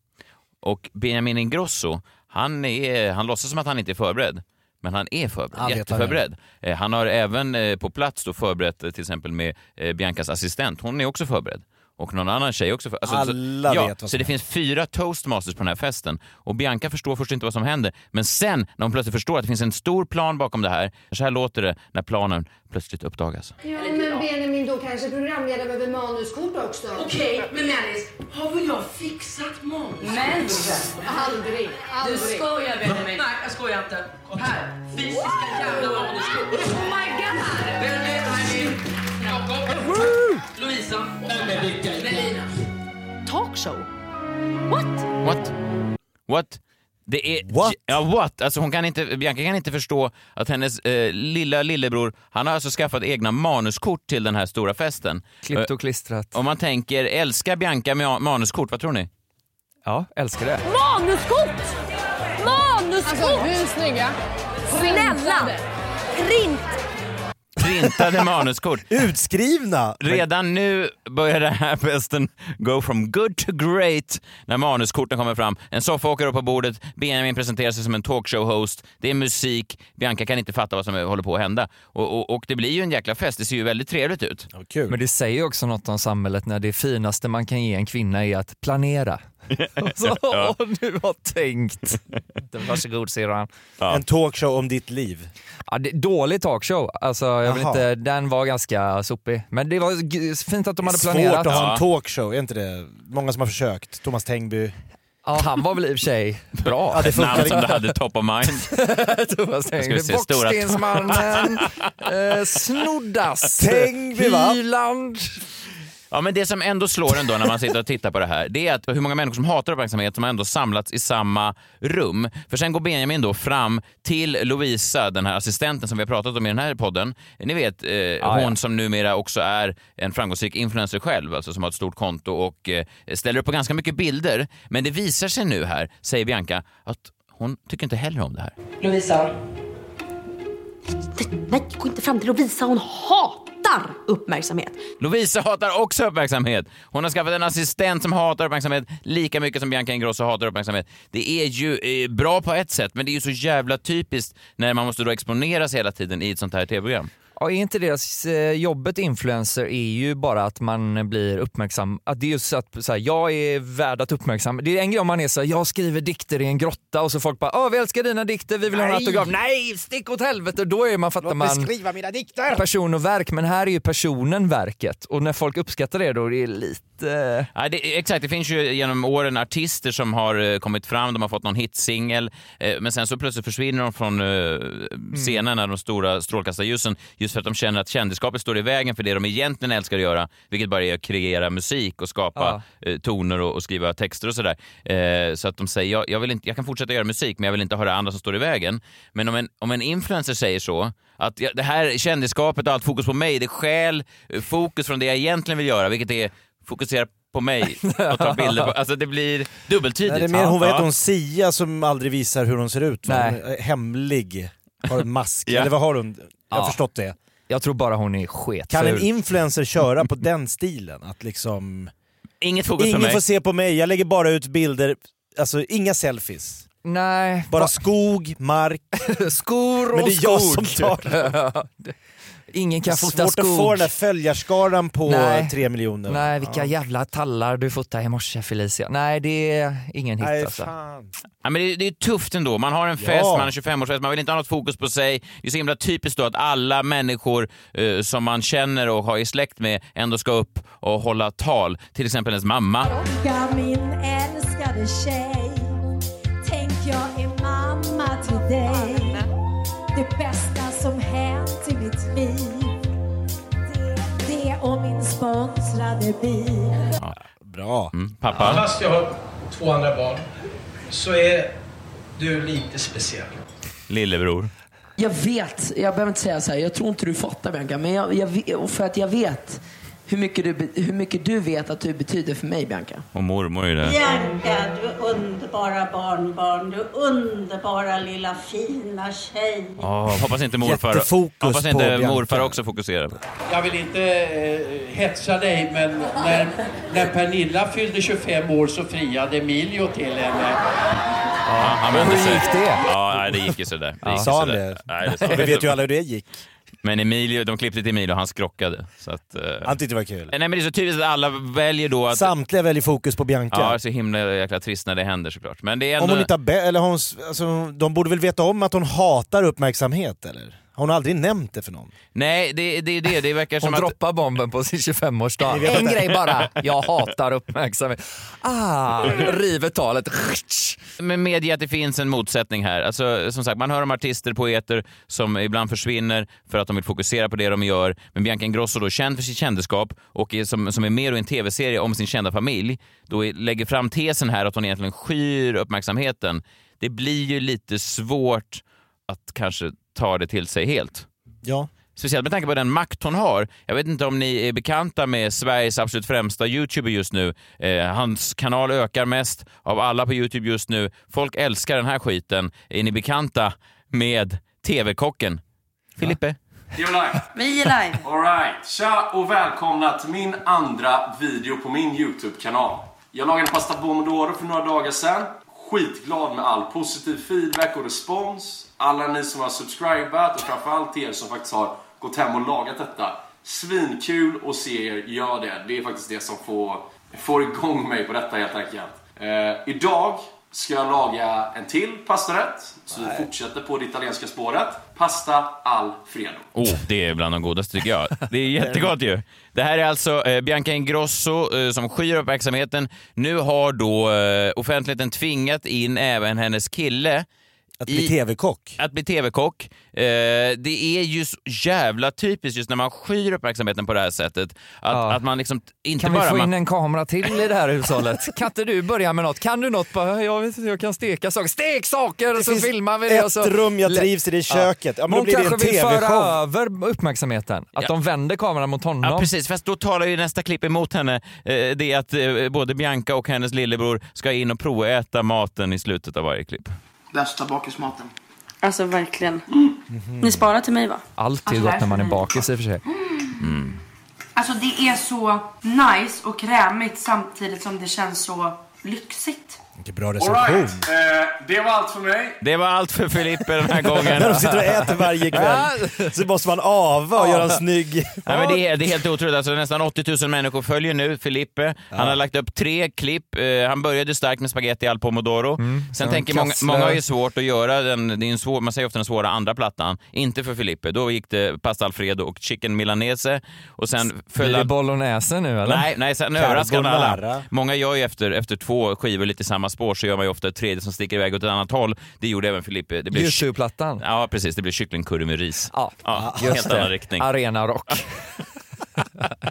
Speaker 2: Och Benjamin Ingrosso, han, är, han låtsas som att han inte är förberedd. Men han är förberedd,
Speaker 5: Han vet
Speaker 2: jätteförberedd. Eh, Han har även eh, på plats då förberett eh, till exempel med eh, Biancas assistent. Hon är också förberedd. och någon annan tjej också. Alltså,
Speaker 5: Alla
Speaker 2: så, ja,
Speaker 5: vet vad
Speaker 2: Så
Speaker 5: som
Speaker 2: det finns fyra toastmasters på den här festen och Bianca förstår först inte vad som händer. Men sen när hon plötsligt förstår att det finns en stor plan bakom det här, så här låter det när planen plötsligt uppdagas.
Speaker 10: Ja, men Benjamin, då kanske programledaren behöver manuskort också.
Speaker 11: Okej, men Mellis, har väl jag fixat manus?
Speaker 10: Men, aldrig,
Speaker 11: Du
Speaker 10: aldrig.
Speaker 11: skojar Benjamin. Nej, jag skojar inte. Här, fysiska jävla manuskort. Oh my god! Benjamin, Benjamin, Jakob, Lovisa, Melina.
Speaker 3: Talkshow? What?
Speaker 2: What? What? Det är...
Speaker 5: What?
Speaker 2: Ja, what? Alltså hon kan inte, Bianca kan inte förstå att hennes eh, lilla lillebror, han har alltså skaffat egna manuskort till den här stora festen.
Speaker 4: Klippt och klistrat.
Speaker 2: Eh, Om man tänker, älskar Bianca ma- manuskort, vad tror ni?
Speaker 4: Ja, älskar det.
Speaker 12: Manuskort! Manuskort!
Speaker 10: Alltså, hur snygga?
Speaker 12: Snälla! Print!
Speaker 2: Printade manuskort.
Speaker 5: Utskrivna!
Speaker 2: Redan nu börjar den här festen go from good to great när manuskorten kommer fram. En soffa åker upp på bordet, Benjamin presenterar sig som en talkshow-host, det är musik, Bianca kan inte fatta vad som håller på att hända. Och, och, och det blir ju en jäkla fest, det ser ju väldigt trevligt ut.
Speaker 5: Ja, kul.
Speaker 4: Men det säger ju också något om samhället när det finaste man kan ge en kvinna är att planera. Så,
Speaker 2: Ja.
Speaker 4: åh, du har tänkt. Varsågod syrran.
Speaker 5: En talkshow om ditt liv.
Speaker 4: Ja, det, dålig talkshow, alltså, jag vill
Speaker 5: Jaha.
Speaker 4: inte, den var ganska sopig. Men det var g- fint att de hade
Speaker 5: Svårt
Speaker 4: planerat.
Speaker 5: att ha
Speaker 2: Ja.
Speaker 5: en talkshow, är inte det? Många som har försökt. Thomas Tengby.
Speaker 4: Ja, han var väl i och för sig bra.
Speaker 5: Ja, det
Speaker 2: Ett namn
Speaker 5: funkar
Speaker 2: som du
Speaker 5: inte.
Speaker 2: hade top of mind.
Speaker 4: Thomas
Speaker 2: ska
Speaker 4: Tengby.
Speaker 2: vi se, stora-
Speaker 4: Bockstensmannen, eh, Snoddas,
Speaker 5: Tengby, va?
Speaker 4: Hyland.
Speaker 2: Ja, men det som ändå slår en då när man sitter och tittar på det här, det är att hur många människor som hatar uppmärksamhet som har ändå samlats i samma rum. För sen går Benjamin då fram till Lovisa, den här assistenten som vi har pratat om i den här podden. Ni vet, eh, hon
Speaker 4: ja.
Speaker 2: som numera också är en framgångsrik influencer själv, alltså som har ett stort konto och eh, ställer upp på ganska mycket bilder. Men det visar sig nu här, säger Bianca, att hon tycker inte heller om det här.
Speaker 11: Lovisa,
Speaker 3: Nej, gå inte fram till Lovisa. Hon hatar uppmärksamhet.
Speaker 2: Lovisa hatar också uppmärksamhet. Hon har skaffat en assistent som hatar uppmärksamhet lika mycket som Bianca Ingrosso hatar uppmärksamhet. Det är ju eh, bra på ett sätt, men det är ju så jävla typiskt när man måste då exponeras hela tiden i ett sånt här tv-program.
Speaker 4: Ja, är inte deras eh, jobbet influencer är ju bara att man blir uppmärksam. Att det är just så att så här, jag är värd att uppmärksamma. Det är en grej om man är så här, jag skriver dikter i en grotta och så folk bara “Åh, vi älskar dina dikter, vi vill ha en
Speaker 5: Nej.
Speaker 4: autograf”. Nej, stick åt helvete! Då är man, fattar man,
Speaker 5: skriva mina dikter!
Speaker 4: person och verk. Men här är ju personen verket och när folk uppskattar det då är det lite...
Speaker 2: Nej, det, exakt, det finns ju genom åren artister som har eh, kommit fram, de har fått någon hitsingel, eh, men sen så plötsligt försvinner de från eh, scenen, när de stora strålkastarljusen, just för att de känner att kändiskapet står i vägen för det de egentligen älskar att göra, vilket bara är att kreera musik och skapa eh, toner och, och skriva texter och sådär. Eh, så att de säger, jag, jag, vill inte, jag kan fortsätta göra musik, men jag vill inte ha det andra som står i vägen. Men om en, om en influencer säger så, att jag, det här kändisskapet och allt fokus på mig, det stjäl eh, fokus från det jag egentligen vill göra, vilket är fokusera på mig och ta bilder på... Alltså det blir dubbeltydigt.
Speaker 5: Nej, det är mer hon, vad heter
Speaker 2: Ja.
Speaker 5: hon, Sia som aldrig visar hur hon ser ut. va?
Speaker 4: Nej.
Speaker 5: Hon är hemlig. Har en mask.
Speaker 2: Ja.
Speaker 5: Eller vad har hon? Jag har
Speaker 4: Ja.
Speaker 5: förstått det.
Speaker 4: Jag tror bara hon är sketful.
Speaker 5: Kan en influencer köra på den stilen? Att liksom...
Speaker 2: Inget fokus på
Speaker 5: Ingen
Speaker 2: mig.
Speaker 5: får se på mig, jag lägger bara ut bilder. Alltså inga selfies.
Speaker 4: Nej.
Speaker 5: Bara
Speaker 4: Va-
Speaker 5: skog, mark.
Speaker 4: skor och
Speaker 5: Men det är jag
Speaker 4: skog.
Speaker 5: som tar
Speaker 4: Ingen kan fota
Speaker 5: Svårt att få
Speaker 4: skog.
Speaker 5: den där följarskaran på
Speaker 4: Nej.
Speaker 5: tre miljoner.
Speaker 4: Nej, vilka jävla tallar du fotade i morse Felicia. Nej, det är ingen hit
Speaker 5: Nej,
Speaker 4: alltså.
Speaker 5: fan.
Speaker 2: Ja, men det, det är ju tufft ändå. Man har en fest,
Speaker 5: Ja.
Speaker 2: man har en 25-årsfest, man vill inte ha något fokus på sig. Det är så himla typiskt då att alla människor eh, som man känner och har i släkt med ändå ska upp och hålla tal. Till exempel ens mamma.
Speaker 12: Ja, min älskade tjej Tänk jag är mamma till dig Det bästa som hänt i mitt liv Det, det och min sponsrade bil
Speaker 5: Bra.
Speaker 2: Mm. Pappa.
Speaker 11: fast jag har två andra barn så är du lite speciell.
Speaker 2: Lillebror.
Speaker 11: Jag vet, jag behöver inte säga så här, jag tror inte du fattar Bianca, men jag, jag, ve- och för att jag vet hur mycket, du, be- hur mycket du vet att du betyder för mig Bianca.
Speaker 2: Och mormor är där.
Speaker 12: Bianca, du underbara barnbarn, du underbara lilla fina tjej.
Speaker 2: Åh, hoppas inte morfar,
Speaker 5: Jättefokus
Speaker 2: hoppas
Speaker 5: på
Speaker 2: inte
Speaker 5: Bianca.
Speaker 2: morfar också fokuserar.
Speaker 11: Jag vill inte eh, hetsa dig, men när, när Pernilla fyllde 25 år så friade Emilio till henne.
Speaker 2: Ja, han vände
Speaker 4: Hur
Speaker 2: sig.
Speaker 4: gick det?
Speaker 2: Ja, nej, det gick ju sådär. Det gick ju
Speaker 5: Sa han
Speaker 2: sådär.
Speaker 5: det?
Speaker 2: Nej, det sa
Speaker 5: Vi vet ju alla hur det gick.
Speaker 2: Men Emilio, de klippte till Emilio och han skrockade. Så att, eh,
Speaker 5: Han tyckte det var kul.
Speaker 2: Nej, men det är så typiskt att alla väljer då att...
Speaker 5: Samtliga väljer fokus på Bianca.
Speaker 2: Ja, det är så himla jäkla trist när det händer såklart. Men det är ändå...
Speaker 5: Om hon inte har be- eller har hon, s- alltså, de borde väl veta om att hon hatar uppmärksamhet eller? Har hon aldrig nämnt det för någon?
Speaker 2: Nej, det är det, det, det verkar som
Speaker 4: Hon
Speaker 2: att...
Speaker 4: droppar bomben på sin 25-årsdag.
Speaker 5: Ni vet
Speaker 4: En
Speaker 5: att-
Speaker 4: grej bara. Jag hatar uppmärksamhet. Ah, river talet.
Speaker 2: Men medge att det finns en motsättning här. Alltså, som sagt, man hör om artister, poeter som ibland försvinner för att de vill fokusera på det de gör. Men Bianca Ingrosso, då, känd för sitt kändeskap och är, som, som är med då i en tv-serie om sin kända familj, då är- lägger fram tesen här att hon egentligen skyr uppmärksamheten. Det blir ju lite svårt att kanske ta det till sig helt.
Speaker 5: Ja.
Speaker 2: Speciellt med tanke på den makt hon har. Jag vet inte om ni är bekanta med Sveriges absolut främsta youtuber just nu. Eh, hans kanal ökar mest av alla på Youtube just nu. Folk älskar den här skiten. Är ni bekanta med TV-kocken? Filippe?
Speaker 13: Vi är live.
Speaker 7: Vi är live.
Speaker 13: All right. Tja och välkomna till min andra video på min YouTube-kanal. Jag lagade pasta pomodoro för några dagar sedan. Skitglad med all positiv feedback och respons. Alla ni som har subscribat och framförallt er som faktiskt har gått hem och lagat detta. Svinkul att se er göra det. Det är faktiskt det som får, får igång mig på detta helt enkelt. Eh, idag ska jag laga en till pastarätt. Så vi fortsätter på det italienska spåret. Pasta Alfredo.
Speaker 2: Oh, det är bland de godaste tycker jag. Det är jättegott ju. Det här är alltså eh, Bianca Ingrosso eh, som skyr uppmärksamheten. Nu har då eh, offentligheten tvingat in även hennes kille
Speaker 5: Att bli TV-kock.
Speaker 2: Att bli TV-kock. Eh, det är ju så jävla typiskt just när man skyr uppmärksamheten på det här sättet. Att, att man liksom t- inte
Speaker 4: Kan vi
Speaker 2: bara...
Speaker 4: få
Speaker 2: man,
Speaker 4: in en kamera till i det här hushållet? Kan inte du börja med något? Kan du något? Bara, Jag vet inte, jag kan steka saker. Stek saker! Och så
Speaker 5: finns
Speaker 4: filmar vi det. och
Speaker 5: ett
Speaker 4: så...
Speaker 5: rum jag trivs i, det är köket. Ja, men då
Speaker 4: Hon
Speaker 5: blir det en
Speaker 4: kanske vill
Speaker 5: TV-show.
Speaker 4: föra över uppmärksamheten. Att
Speaker 2: Ja.
Speaker 4: de vänder kameran mot honom.
Speaker 2: Ja, precis. Fast då talar ju nästa klipp emot henne. Eh, det är att eh, både Bianca och hennes lillebror ska in och proväta maten i slutet av varje klipp.
Speaker 14: Bästa bakismaten.
Speaker 7: Alltså verkligen. Ni sparar till mig va?
Speaker 4: Allt är
Speaker 15: Alltså,
Speaker 4: gott när man är bakis i och för sig.
Speaker 2: Mm.
Speaker 15: Alltså det är så nice och krämigt samtidigt som det känns så lyxigt.
Speaker 5: Vilken bra
Speaker 13: All
Speaker 5: recension.
Speaker 13: right. Eh, det var allt för mig.
Speaker 2: Det var allt för Filippe den här gången.
Speaker 5: När de sitter och äter varje kväll så måste man ava och göra en snygg...
Speaker 2: Nej, men det, är, det är helt otroligt. Alltså, nästan 80 000 människor följer nu Filippe. Han har lagt upp tre klipp. Eh, han började starkt med spaghetti al pomodoro. Sen
Speaker 4: Sen
Speaker 2: tänker många,
Speaker 4: kassler.
Speaker 2: många har ju svårt att göra den, det är en svår, man säger ofta den svåra andra plattan. Inte för Filippe. Då gick det pasta alfredo och chicken milanese. Och sen
Speaker 4: Blir
Speaker 2: följde
Speaker 4: det
Speaker 2: han...
Speaker 4: bolognese nu eller?
Speaker 2: Nej, nej, sen överraskade alla. Många gör ju efter, efter två skivor lite samma spår så gör man ju ofta ett tredje som sticker iväg åt ett annat håll. Det gjorde även Filippe. Det blev
Speaker 4: Youtube-plattan.
Speaker 2: Ja, precis. Det blev kycklingkurre med ris.
Speaker 4: Ja,
Speaker 2: helt annan riktning.
Speaker 4: Arena rock.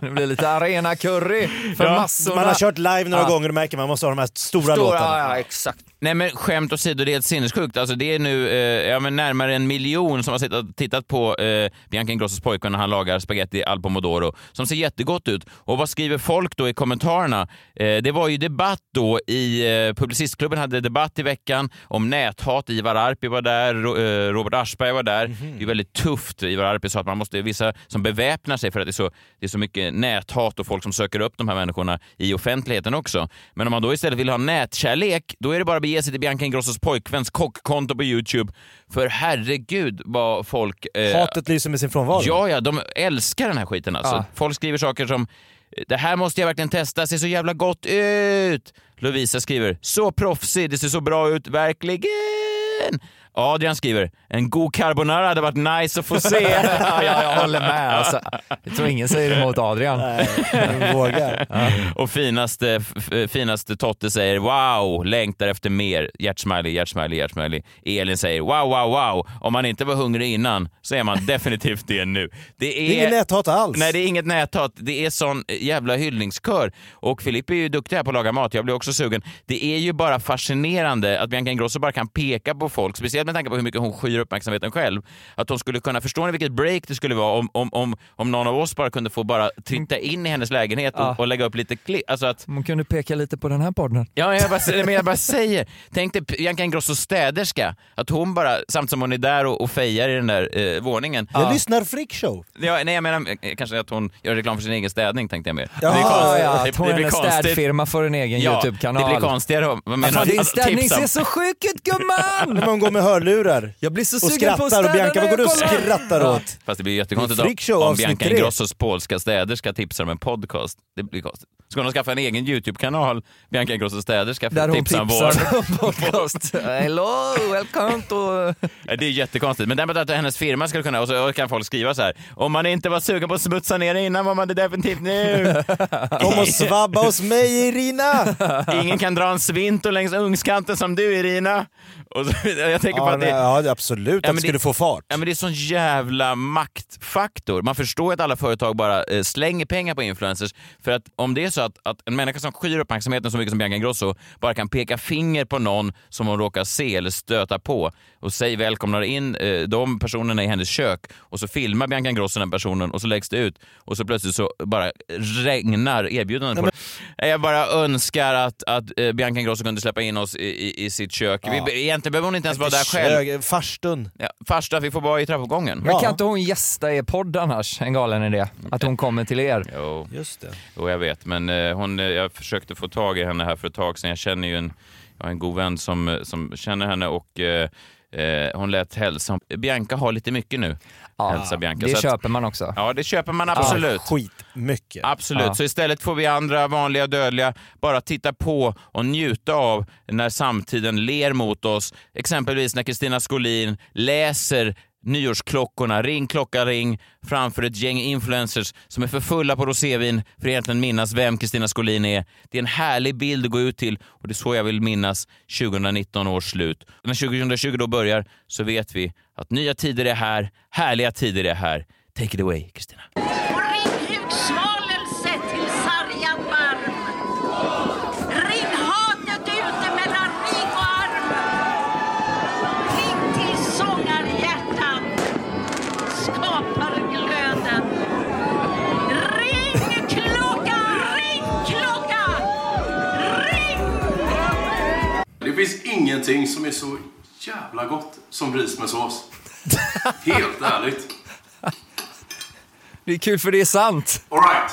Speaker 4: det blir lite arena curry för massorna.
Speaker 5: Man har kört live några
Speaker 4: Ja.
Speaker 5: gånger och märker man måste ha de här stora,
Speaker 4: Stora,
Speaker 5: låtarna.
Speaker 4: ja, exakt.
Speaker 2: Nej men skämt åsido, det är helt sinnessjukt. Alltså, det är nu eh, ja, men närmare en miljon som har sittat, tittat på eh, Bianca Ingrossos pojkvän när han lagar spaghetti al pomodoro som ser jättegott ut. Och vad skriver folk då i kommentarerna? Eh, det var ju debatt då i eh, Publicistklubben hade debatt i veckan om näthat. Ivar Arpi var där, Ro, eh, Robert Aschberg var där. Det är väldigt tufft. Ivar Arpi sa att man måste vissa som beväpnar sig för att det är, så, det är så mycket näthat och folk som söker upp de här människorna i offentligheten också. Men om man då istället vill ha nätkärlek, då är det bara att bege sig till Bianca Ingrossos pojkväns kockkonto på Youtube. För herregud vad folk... eh,
Speaker 5: Hatet lyser med sin frånvaro.
Speaker 2: Ja, ja, de älskar den här skiten alltså.
Speaker 5: Ja.
Speaker 2: Folk skriver saker som “Det här måste jag verkligen testa, ser så jävla gott ut!” Lovisa skriver “Så proffsig, det ser så bra ut, verkligen!” Adrian skriver “En god carbonara hade varit nice att få se!”
Speaker 4: ja, jag håller med. Alltså, jag tror ingen säger emot Adrian.
Speaker 5: vågar.
Speaker 2: Och finaste, f- f- finaste Totte säger “Wow, längtar efter mer!” Hjärtsmiley, hjärtsmiley, hjärtsmiley. Elin säger “Wow, wow, wow! Om man inte var hungrig innan så är man definitivt det nu.” Det
Speaker 5: Det är inget näthat alls.
Speaker 2: Nej, det är inget näthat. Det är sån jävla hyllningskör. Och Filip är ju duktig här på att laga mat. Jag blir också sugen. Det är ju bara fascinerande att Bianca Ingrosso bara kan peka på folk, speciellt med tanke på hur mycket hon skyr uppmärksamheten själv. Att hon skulle kunna, förstå vilket break det skulle vara om, om, om, om någon av oss bara kunde få bara titta in i hennes lägenhet och,
Speaker 4: Ja.
Speaker 2: och lägga upp lite klipp. Alltså att
Speaker 4: Man kunde Mm, peka lite på den här podden.
Speaker 2: Ja, jag bara, nej, men jag bara säger. Tänk dig Bianca Ingrosso städerska. Att hon bara, samtidigt som hon är där och, och fejar i den där eh, våningen.
Speaker 5: Jag lyssnar freakshow.
Speaker 2: Ja, nej jag menar eh, kanske att hon gör reklam för sin egen städning tänkte jag mer.
Speaker 4: Ja,
Speaker 2: Det är
Speaker 4: ja,
Speaker 2: konstigt.
Speaker 4: ja.
Speaker 2: Det-
Speaker 4: Att hon
Speaker 2: det
Speaker 4: är
Speaker 2: blir
Speaker 4: en
Speaker 2: konstigt.
Speaker 4: städfirma för en egen
Speaker 2: Ja,
Speaker 4: YouTube-kanal.
Speaker 2: Det blir konstigare om... vad menar du?
Speaker 4: Din
Speaker 2: Alltså,
Speaker 4: städning
Speaker 2: tipsa om-
Speaker 4: ser så sjuk ut gumman!
Speaker 5: När man går med hörlurar
Speaker 4: jag blir så
Speaker 5: och
Speaker 4: sugen på att
Speaker 5: skrattar. Och Bianca, vad går du och
Speaker 4: städa när jag kollar.
Speaker 5: skrattar
Speaker 4: Ja.
Speaker 5: åt?
Speaker 2: Fast det blir jättekonstigt
Speaker 5: Det är Freakshow
Speaker 2: om, om
Speaker 5: avsnitt
Speaker 2: Bianca
Speaker 5: tre.
Speaker 2: Ingrossos polska städerska tipsar om en podcast. Det blir konstigt. Ska hon skaffa en egen YouTube-kanal, Bianca Ingrossos städerska,
Speaker 4: Där
Speaker 2: för att
Speaker 4: hon
Speaker 2: tipsa om vår
Speaker 4: tipsar om podcast. Hello, welcome to...
Speaker 2: Nej, Det är jättekonstigt. Men däremot att hennes firma skulle kunna, och så kan folk skriva så här. Om man inte var sugen på att smutsa ner det innan var man det definitivt nu.
Speaker 5: Kom och svabba hos mig Irina!
Speaker 2: Ingen kan dra en svinto längs ugnskanten som du Irina. Och så, jag tänker på
Speaker 5: Ja,
Speaker 2: att
Speaker 5: nej,
Speaker 2: det,
Speaker 5: ja absolut
Speaker 2: Ja,
Speaker 5: att
Speaker 2: men
Speaker 5: det skulle
Speaker 2: det-
Speaker 5: få fart.
Speaker 2: Ja, men det är sån jävla maktfaktor. Man förstår ju att alla företag bara eh, slänger pengar på influencers. För att om det är så att, att en människa som skyr uppmärksamheten så mycket som Bianca Ingrosso bara kan peka finger på någon som hon råkar se eller stöta på och säg välkomnar in eh, de personerna i hennes kök och så filmar Bianca Ingrosso den personen och så läggs det ut och så plötsligt så bara regnar erbjudanden på det. Jag bara önskar att, att eh, Bianca Ingrosso kunde släppa in oss i, i, i sitt kök.
Speaker 5: Ja.
Speaker 2: Vi, be- egentligen behöver hon inte ens vara där själv.
Speaker 5: Kök- Farstun.
Speaker 2: Ja, farsta, vi får vara i trappuppgången.
Speaker 4: Men kan inte hon gästa er podd annars? En galen idé. Att hon kommer till er.
Speaker 2: Jo.
Speaker 5: Just det.
Speaker 2: Jo, jag vet. Men eh, hon, eh, jag försökte få tag i henne här för ett tag sedan. Jag känner ju en, jag har en god vän som, eh, som känner henne och eh, eh, hon lät hälsa. Bianca har lite mycket nu. Hälsa Bianca.
Speaker 4: Det
Speaker 2: Så att-
Speaker 4: köper man också.
Speaker 2: Ja, det köper man absolut.
Speaker 5: Skitmycket.
Speaker 2: Absolut,
Speaker 4: Ja.
Speaker 2: så istället får vi andra vanliga dödliga bara titta på och njuta av när samtiden ler mot oss. Exempelvis när Kristina Skolin läser nyårsklockorna, ring klocka ring, framför ett gäng influencers som är för fulla på rosévin för att egentligen minnas vem Kristina Skolin är. Det är en härlig bild att gå ut till och det är så jag vill minnas 2019 års slut. När 2020 då börjar så vet vi att nya tider är här, härliga tider är här. Take it away, Kristina.
Speaker 12: Ring ut svalelse till sargad barm. Ring hatet ute mellan ring och arm. Ring till sångarhjärtan. Skapar glöden. Ring klocka! Ring klocka! Ring!
Speaker 13: Det finns ingenting som är så jävla gott som ris med sås. Helt ärligt.
Speaker 4: Det är kul för det är sant.
Speaker 13: All right.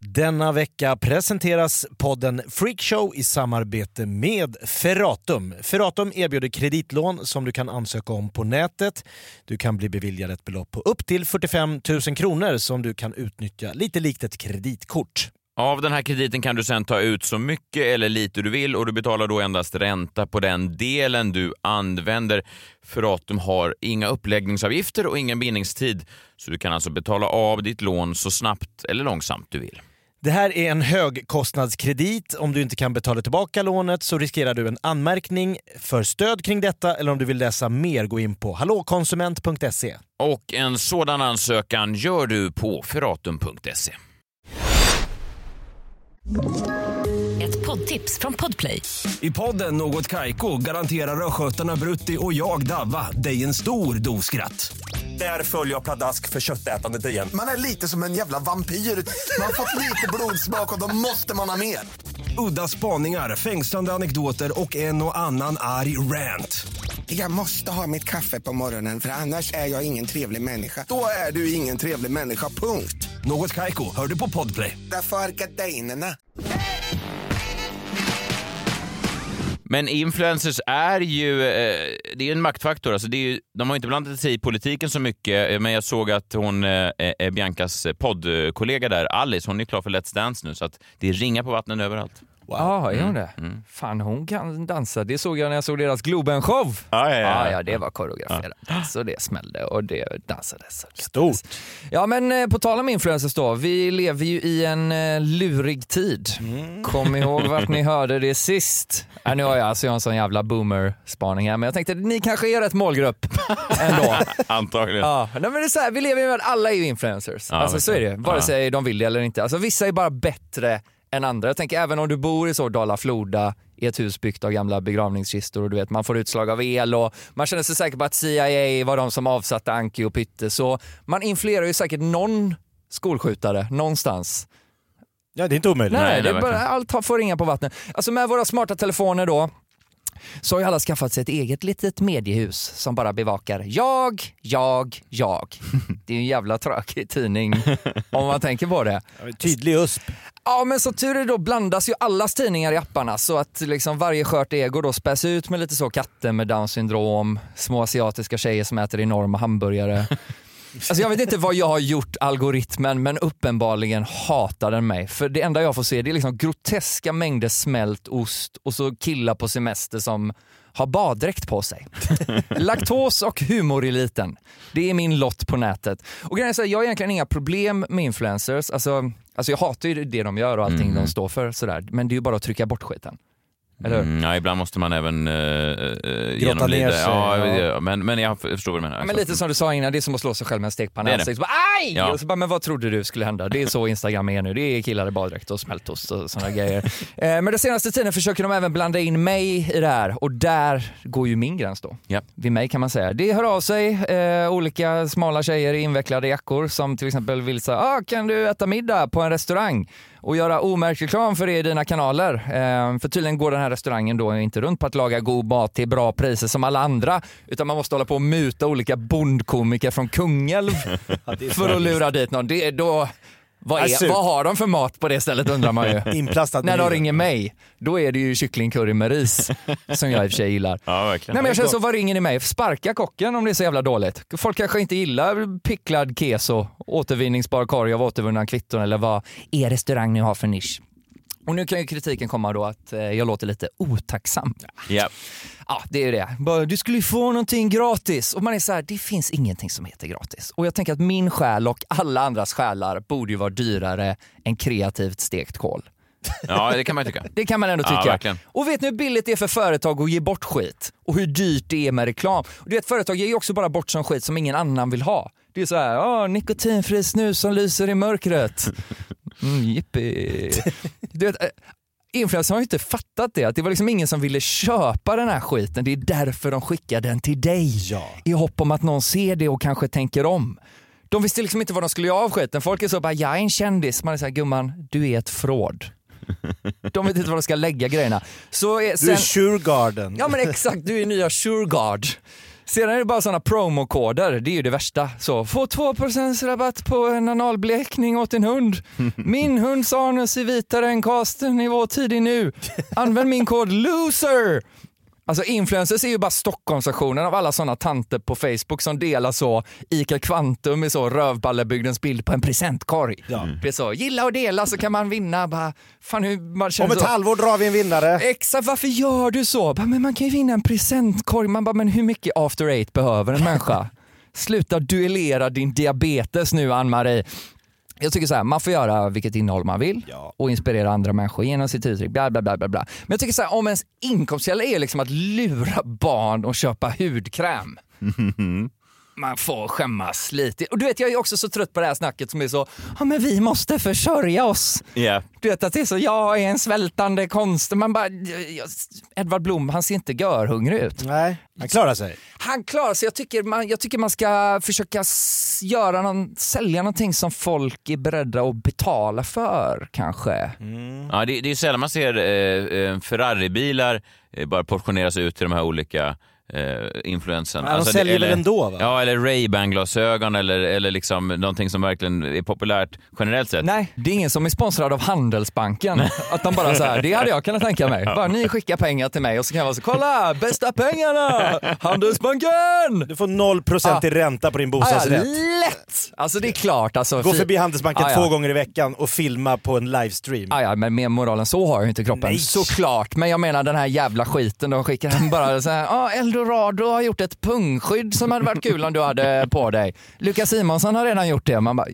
Speaker 5: Denna vecka presenteras podden Freakshow i samarbete med Ferratum. Ferratum erbjuder kreditlån som du kan ansöka om på nätet. Du kan bli beviljad ett belopp på upp till 45 000 kronor som du kan utnyttja lite likt ett kreditkort.
Speaker 2: Av den här krediten kan du sen ta ut så mycket eller lite du vill och du betalar då endast ränta på den delen du använder. Ferratum har inga uppläggningsavgifter och ingen bindningstid så du kan alltså betala av ditt lån så snabbt eller långsamt du vill.
Speaker 5: Det här är en högkostnadskredit. Om du inte kan betala tillbaka lånet så riskerar du en anmärkning. För stöd kring detta eller om du vill läsa mer gå in på hallåkonsument.se.
Speaker 2: Och en sådan ansökan gör du på ferratum.se.
Speaker 14: Ett poddtips från Podplay.
Speaker 16: I podden Något Kaiko garanterar östgötarna Brutti och jag, Davva, dig en stor dos skratt. Där följer jag pladask för köttätandet igen.
Speaker 17: Man är lite som en jävla vampyr. Man har fått lite blodsmak och då måste man ha mer.
Speaker 16: Udda spaningar, fängslande anekdoter och en och annan arg rant.
Speaker 17: Jag måste ha mitt kaffe på morgonen för annars är jag ingen trevlig människa. Då är du ingen trevlig människa, punkt.
Speaker 16: Något Kaiko, hör du på Podplay.
Speaker 17: Därför är gardinerna.
Speaker 2: Men influencers är ju, eh, det är en maktfaktor. Alltså det är ju, de har inte blandat sig i politiken så mycket, eh, men jag såg att hon, eh, eh, Biancas poddkollega där, Alice, hon är klar för Let's Dance nu så att det är ringar på vattnen överallt.
Speaker 4: Wow. Mm. Ja, är hon det? Fan, hon kan dansa. Det såg jag när jag såg deras Globen-show.
Speaker 2: Ja, ja,
Speaker 4: Ah, ja.
Speaker 2: ja.
Speaker 4: det var koreograferat. Så det smällde och det dansades. Stort. Ja, men eh, på tal om influencers då. Vi lever ju i en eh, lurig tid. Kom ihåg vart ni hörde det sist. Äh, nu har jag alltså jag har en sån jävla boomer-spaning här, men jag tänkte att ni kanske är rätt målgrupp ändå.
Speaker 2: Antagligen.
Speaker 4: Ja, nej, men det är så här, vi lever ju med alla är ju influencers.
Speaker 2: Ja,
Speaker 4: alltså så är det
Speaker 2: verkligen.
Speaker 4: vare
Speaker 2: Ja.
Speaker 4: sig de vill det eller inte. Alltså vissa är bara bättre än andra. Jag tänker även om du bor i så Dala-Floda i ett hus byggt av gamla begravningskistor och du vet man får utslag av el och man känner sig säker på att CIA var de som avsatte Anki och Pytte så man influerar ju säkert någon skolskjutare någonstans.
Speaker 5: Ja, det är inte omöjligt.
Speaker 4: Nej, det är bara, allt har- får ringa på vattnet. Alltså med våra smarta telefoner då så har ju alla skaffat sig ett eget litet mediehus som bara bevakar jag, jag, jag. Det är ju en jävla tråkig tidning om man tänker på det.
Speaker 5: Tydlig USP.
Speaker 4: Ja, Ja, men som tur är då blandas ju allas tidningar i apparna så att liksom varje skört ego då späs ut med lite så katter med down syndrom, små asiatiska tjejer som äter enorma hamburgare. Alltså jag vet inte vad jag har gjort algoritmen men uppenbarligen hatar den mig. För det enda jag får se det är liksom groteska mängder smält ost och så killar på semester som har baddräkt på sig. Laktos och humoreliten. Det är min lott på nätet. Och grejen är så här, jag har egentligen inga problem med influencers. Alltså, alltså jag hatar ju det de gör och allting de står för sådär. Men det är ju bara att trycka bort skiten. Eller hur?
Speaker 2: Mm, ja, ibland måste man även eh, eh,
Speaker 4: ner
Speaker 2: genomlida.
Speaker 4: sig,
Speaker 2: Ja,
Speaker 4: ja.
Speaker 2: ja. Men, men jag förstår vad du menar. alltså.
Speaker 4: Ja, men lite som du sa innan, det är som att slå sig själv med en stekpanna
Speaker 2: Det
Speaker 4: i
Speaker 2: är det.
Speaker 4: ansiktet. Så bara, Aj!
Speaker 2: Ja.
Speaker 4: Och så bara, men vad trodde du skulle hända? Det är så Instagram är nu. Det är killar i baddräkt och smältost och sådana grejer. Eh, men den senaste tiden försöker de även blanda in mig i det här och där går ju min gräns då.
Speaker 2: Ja.
Speaker 4: Vid mig kan man säga. Det hör av sig eh, olika smala tjejer i invecklade jackor som till exempel vill säga, ah, kan du äta middag på en restaurang? och göra omärkt reklam för det i dina kanaler. Eh, för tydligen går den här restaurangen då inte runt på att laga god mat till bra priser som alla andra, utan man måste hålla på och muta olika bondkomiker från Kungälv för att lura dit någon. Det är då, vad,
Speaker 5: Alltså-
Speaker 4: är, vad har de för mat på det stället undrar man ju.
Speaker 5: Inplastad
Speaker 4: När de
Speaker 5: meny.
Speaker 4: ringer mig, då är det ju kycklingcurry med ris som jag i och för sig gillar.
Speaker 2: Ja, verkligen.
Speaker 4: Nej men jag känner så, vad ringer ni mig? Sparka kocken om det är så jävla dåligt. Folk kanske inte gillar picklad keso, återvinningsbar korg av återvunna kvitton eller vad er restaurang nu har för nisch. Och nu kan ju kritiken komma då att eh, jag låter lite otacksam.
Speaker 2: Ja.
Speaker 4: Ja, det är ju det. Bara, du skulle ju få någonting gratis. Och man är så här, det finns ingenting som heter gratis. Och jag tänker att min själ och alla andras själar borde ju vara dyrare än kreativt stekt kål.
Speaker 2: ja, det kan man ju tycka.
Speaker 4: Det kan man ändå
Speaker 2: Ja,
Speaker 4: tycka.
Speaker 2: verkligen.
Speaker 4: och vet ni hur billigt det är för företag att ge bort skit? Och hur dyrt det är med reklam? Och du vet, företag ger ju också bara bort sån skit som ingen annan vill ha. Det är så här, "Åh, nikotinfri snus som lyser i mörkret. Mm, jippi. Du vet, eh, influencers har ju inte fattat det, att det var liksom ingen som ville köpa den här skiten. Det är därför de skickar den till dig. I hopp om att någon ser det och kanske tänker om. De visste liksom inte vad de skulle göra av skiten. Folk är så bara, jag är en kändis. Man är så här, gumman, du är ett fråd. De vet inte var de ska lägga grejerna. Så är,
Speaker 5: Du är Suregarden.
Speaker 4: Ja men exakt, du är nya Sureguard. Sedan är det bara sådana promokoder, det är ju det värsta. Så, få 2% rabatt på en analblekning åt din hund. Min hunds anus är vitare än casten i vår tid är nu. Använd min kod LOSER! Alltså influencers är ju bara Stockholmsversionen av alla sådana tanter på Facebook som delar så ICA Kvantum i så rövballebygdens bild på en presentkorg. Det är så, gilla och dela så kan man vinna. Bara, fan hur man känner
Speaker 5: Om ett
Speaker 4: så.
Speaker 5: halvår drar vi en vinnare.
Speaker 4: Exakt, varför gör du så? Bara, Men man kan ju vinna en presentkorg. Man bara, men hur mycket after eight behöver en människa? Sluta duellera din diabetes nu Ann-Marie. Jag tycker så här, man får göra vilket innehåll man vill och inspirera andra människor genom sitt uttryck. Bla, bla, bla, bla, bla. Men jag tycker så här, om ens inkomstkälla är liksom att lura barn och köpa hudkräm man får skämmas lite. Och du vet, jag är också så trött på det här snacket som är så, ja men vi måste försörja oss.
Speaker 2: Ja.
Speaker 4: Du vet att det är så, jag är en svältande konst. Man bara, jag- Edvard Blom, han ser inte görhungrig ut.
Speaker 5: Nej, han klarar sig.
Speaker 4: Han klarar sig. Jag tycker man, jag tycker man ska försöka s- göra någon, sälja någonting som folk är beredda att betala för kanske.
Speaker 5: Mm.
Speaker 2: Ja, det, det är sällan man ser eh, eh, Ferraribilar eh, bara portioneras ut till de här olika eh, influensen.
Speaker 5: Ja, de säljer väl ändå, va?
Speaker 2: Ja, eller Ray-Ban-glasögon eller, eller liksom någonting som verkligen är populärt generellt sett.
Speaker 4: Nej, det är ingen som är sponsrad av Handelsbanken. Att de bara så här, det hade jag kunnat tänka mig. Bara ni skickar pengar till mig och så kan jag vara så, kolla, bästa pengarna! Handelsbanken!
Speaker 5: Du får 0%
Speaker 4: Ah.
Speaker 5: i ränta på din bostadsrätt.
Speaker 4: lätt! Alltså det är klart. Alltså,
Speaker 5: Gå
Speaker 4: fy-
Speaker 5: förbi Handelsbanken
Speaker 4: Ah, ja.
Speaker 5: två gånger i veckan och filma på en livestream.
Speaker 4: Ah, ja, men mer moral än så har jag ju inte i kroppen.
Speaker 5: Nej.
Speaker 4: Såklart, men jag menar den här jävla skiten de skickar. Han Bara så här, ah, Eldorado har gjort ett pungskydd som hade varit kul om du hade på dig. Lukas Simonsson har redan gjort det. Man bara,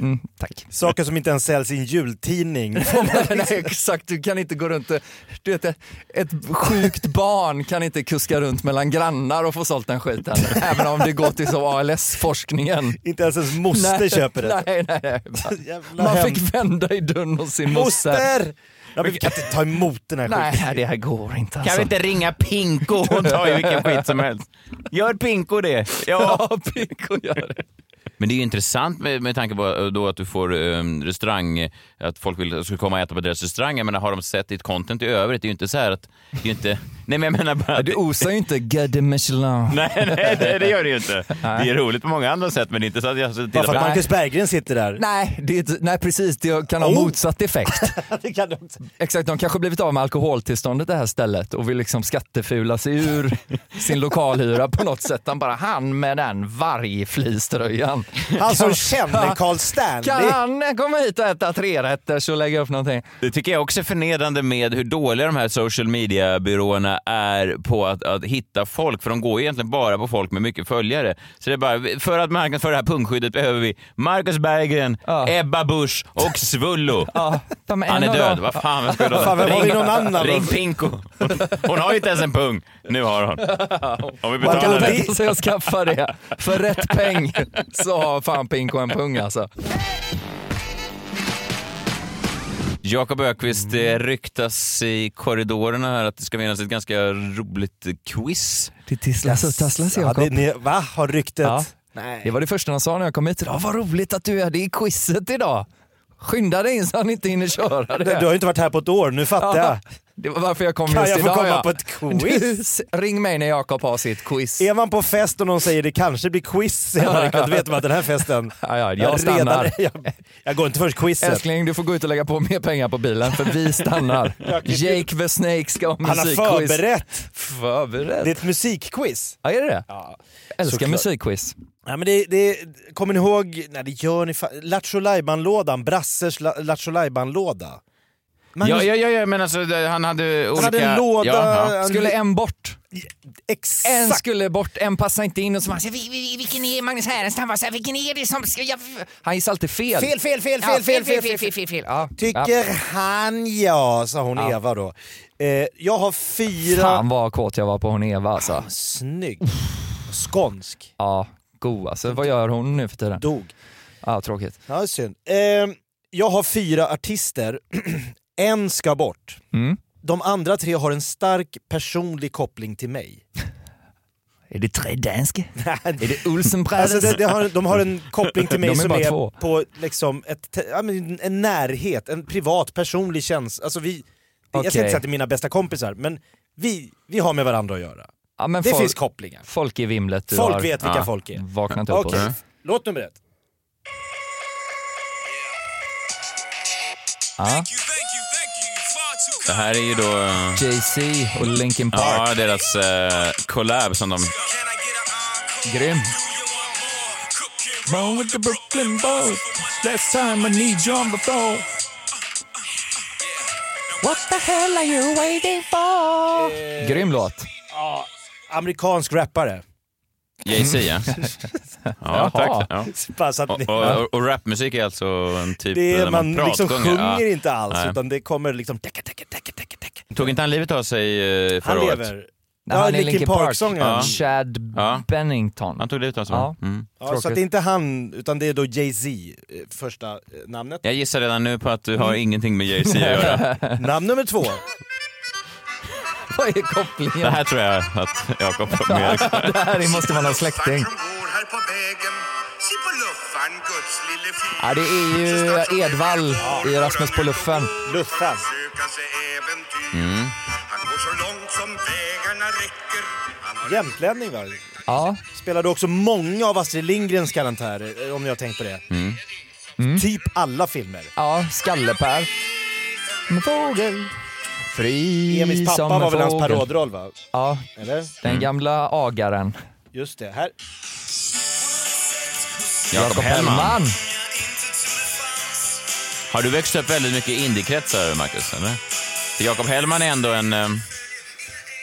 Speaker 4: mm, tack.
Speaker 5: Saker som inte ens säljs i en jultidning.
Speaker 4: Nej, exakt, du kan inte gå runt... och- Du vet, ett sjukt barn kan inte kuska runt mellan grannar och få sålt den skiten. Även om det går till så ALS-forskningen.
Speaker 5: inte ens ens moster
Speaker 4: Nej,
Speaker 5: köper det.
Speaker 4: Nej, nej, nej.
Speaker 5: Jävla
Speaker 4: Man
Speaker 5: hem.
Speaker 4: fick vända i dörren hos sin moster.
Speaker 5: Moster! Ja, men vi kan inte ta emot den här skiten.
Speaker 4: Nej, det här går inte alltså.
Speaker 2: Kan vi inte ringa Pinko? Hon tar ju vilken skit som helst. Gör Pinko det? Ja,
Speaker 4: Pinko gör det.
Speaker 2: Men det är ju intressant med, med tanke på eh, då att du får um, restaurang, eh, att folk vill, ska komma och äta på deras restaurang. Jag menar, har de sett ditt content i övrigt? Det är ju inte så här att, det är ju inte, Nej men jag menar bara...
Speaker 4: Du osar ju inte Gade Michelin.
Speaker 2: Nej, nej det, det gör det ju inte. Det är roligt på många andra sätt men inte så att jag sitter
Speaker 5: Bara för att Marcus Berggren sitter där.
Speaker 4: Nej, det är, inte- nej precis, det kan ha
Speaker 5: Oh.
Speaker 4: motsatt effekt.
Speaker 5: det kan du också.
Speaker 4: Exakt, de kanske blivit av med alkoholtillståndet det här stället och vill liksom skattefula sig ur sin lokalhyra på något sätt. Han bara, han med den vargfliströjan.
Speaker 5: Han som
Speaker 4: Kan-
Speaker 5: känner Carl Stanley.
Speaker 4: Kan han komma hit och äta trerätters och lägga upp någonting?
Speaker 2: Det tycker jag också är förnedrande med hur dåliga de här social media-byråerna är på att, att hitta folk, för de går ju egentligen bara på folk med mycket följare. Så det är bara, för att marknadsföra det här punktskyddet behöver vi Marcus Berggren, Ebba Busch och Svullo.
Speaker 4: de är
Speaker 2: Han är
Speaker 4: en av
Speaker 2: död,
Speaker 4: dem.
Speaker 2: vad fan vad ska du
Speaker 4: Fan, vem har vi någon annan då?
Speaker 2: Ring Pinko. Hon, hon har ju inte ens en pung. Nu har hon. Om vi
Speaker 4: Man
Speaker 2: betalar
Speaker 4: kan
Speaker 2: det.
Speaker 4: tänka sig att skaffa det. För rätt peng så har fan Pinko en pung alltså.
Speaker 2: Jakob Ökvist det
Speaker 5: Mm.
Speaker 2: ryktas i korridorerna här att det ska finnas ett ganska roligt quiz.
Speaker 4: Det tisslas och tasslas Jakob.
Speaker 5: Ja, det, ni, va? Har ryktet?
Speaker 4: Ja.
Speaker 5: Nej.
Speaker 4: Det var det första han sa när jag kom hit idag. Vad roligt att du är det i quizet idag. Skynda dig in så han inte hinner köra det.
Speaker 5: Du, har ju inte varit här på ett år, nu fattar jag.
Speaker 4: Det var varför jag kom
Speaker 5: Kan
Speaker 4: just
Speaker 5: jag få
Speaker 4: idag.
Speaker 5: komma
Speaker 4: ja.
Speaker 5: på ett quiz?
Speaker 4: Du, s- ring mig när Jakob har sitt quiz.
Speaker 5: Är man på fest och någon säger det kanske blir quiz senare ikväll, då vet man att den här festen...
Speaker 4: Ja, ja, jag
Speaker 5: är redan-
Speaker 4: stannar.
Speaker 5: jag, jag går inte först quizet.
Speaker 4: Älskling, du får gå ut och lägga på mer pengar på bilen för vi stannar. Jake the Snake ska ha
Speaker 5: Han har
Speaker 4: musikquiz.
Speaker 5: förberett.
Speaker 4: Förberett?
Speaker 5: Det är ett musikquiz.
Speaker 4: Ja, är det det? Älskar
Speaker 5: såklart.
Speaker 4: musikquiz.
Speaker 5: Ja, men det, det, kommer ni ihåg, nej det gör ni fa- Lattjo Lajban-lådan, Brasses la- Lattjo Lajban-låda. Man-
Speaker 2: ja, ja, ja, ja, men alltså det- han hade olika...
Speaker 5: hade en låda,
Speaker 2: Ja, ja.
Speaker 5: han-
Speaker 4: Skulle en bort?
Speaker 5: Exakt.
Speaker 4: En skulle bort, en passar inte in och så man säger, "Vi- vi-
Speaker 14: Vilken är Magnus Härenstam? Vad säger- Vilken är det som ska... Jag...
Speaker 4: han gissar alltid fel.
Speaker 5: Fel, fel, fel,
Speaker 14: Ja,
Speaker 5: fel, fel, fel, fel, fel.
Speaker 14: fel.
Speaker 4: Ja.
Speaker 5: Tycker han ja, sa hon
Speaker 4: Ja.
Speaker 5: Eva då. Eh, jag har fyra...
Speaker 4: Fan vad kåt jag var på hon Eva alltså.
Speaker 5: Snygg. Skånsk.
Speaker 4: Ja, god alltså. Vad gör hon nu för tiden?
Speaker 5: Dog.
Speaker 4: Ja, tråkigt.
Speaker 5: Ja, det är synd. Eh, jag har fyra artister. en ska bort.
Speaker 4: Mm.
Speaker 5: De andra tre har en stark personlig koppling till mig.
Speaker 4: Är det tre danske?
Speaker 5: är
Speaker 4: det Olsen Brothers?
Speaker 5: Alltså det, det har, de har en koppling till mig
Speaker 4: De är
Speaker 5: som
Speaker 4: bara
Speaker 5: är
Speaker 4: två.
Speaker 5: på liksom ett, te- ja, men en närhet, en privat personlig känsla. Alltså vi, Jag ska
Speaker 4: Okej.
Speaker 5: inte säga att det är mina bästa kompisar, men vi, vi har med varandra att göra.
Speaker 4: Ja, men
Speaker 5: det
Speaker 4: folk-
Speaker 5: finns kopplingar.
Speaker 4: Folk i vimlet. du
Speaker 5: Folk
Speaker 4: har- Ah.
Speaker 5: vet vilka folk är.
Speaker 4: Vaknat upp
Speaker 5: Okej,
Speaker 4: okay.
Speaker 5: låt nummer ett.
Speaker 4: ja.
Speaker 2: Det här är ju då... eh,
Speaker 4: Jay-Z och Linkin Park.
Speaker 2: Ja, deras eh, collab som de...
Speaker 4: Grym.
Speaker 6: Wrong with the Brooklyn boat. Last time I need you on the floor.
Speaker 4: What the hell are you waiting for? Grym låt.
Speaker 5: Ja, amerikansk rappare.
Speaker 2: Jay-Z, ja. Ja,
Speaker 4: Jaha.
Speaker 2: tack. Ja.
Speaker 5: Bara så att ni-
Speaker 2: Och, och, och rapmusik är alltså en typ
Speaker 5: Det
Speaker 2: där
Speaker 5: är, man
Speaker 2: pratsjunger.
Speaker 5: liksom sjunger
Speaker 2: Ja.
Speaker 5: inte alls,
Speaker 2: Nej.
Speaker 5: utan det kommer liksom... Tacka, tacka,
Speaker 2: Tog inte han livet av sig eh, förra
Speaker 5: han
Speaker 2: året?
Speaker 5: lever.
Speaker 4: Nej, han är
Speaker 5: Linkin
Speaker 4: Linkin
Speaker 5: Park-sångaren.
Speaker 4: Park. Chad
Speaker 2: Ja.
Speaker 4: Bennington.
Speaker 2: Han tog livet av sig,
Speaker 4: Ja.
Speaker 2: va? Mm.
Speaker 5: Ja, så att det är inte han, utan det är då Jay-Z, eh, första eh, namnet.
Speaker 2: Jag gissar redan nu på att du
Speaker 5: Mm.
Speaker 2: har ingenting med Jay-Z att göra.
Speaker 5: Namn nummer två.
Speaker 4: Vad är kopplingen?
Speaker 2: Det här tror jag att Jakob har mer.
Speaker 4: det här måste man ha släkting. Ja, det är ju Edvall i Rasmus på luffen.
Speaker 5: Luffan.
Speaker 2: Mm.
Speaker 5: Jämtlänning va?
Speaker 4: Ja.
Speaker 5: Spelade också många av Astrid Lindgrens karantärer, eh, om ni har tänkt på det.
Speaker 2: Mm.
Speaker 5: Typ alla filmer.
Speaker 4: Ja, Skallepär. Som en fågel. Fri
Speaker 5: Emils pappa
Speaker 4: som en
Speaker 5: var väl hans
Speaker 4: fågel.
Speaker 5: parodroll va?
Speaker 4: Ja,
Speaker 5: Eller?
Speaker 2: Mm.
Speaker 4: den gamla agaren.
Speaker 5: Just det, här.
Speaker 2: Jakob Hellman.
Speaker 4: Hellman.
Speaker 2: Har du växt upp väldigt mycket i indiekretsar, Marcus? Eller? För Jakob Hellman är ändå en... eh,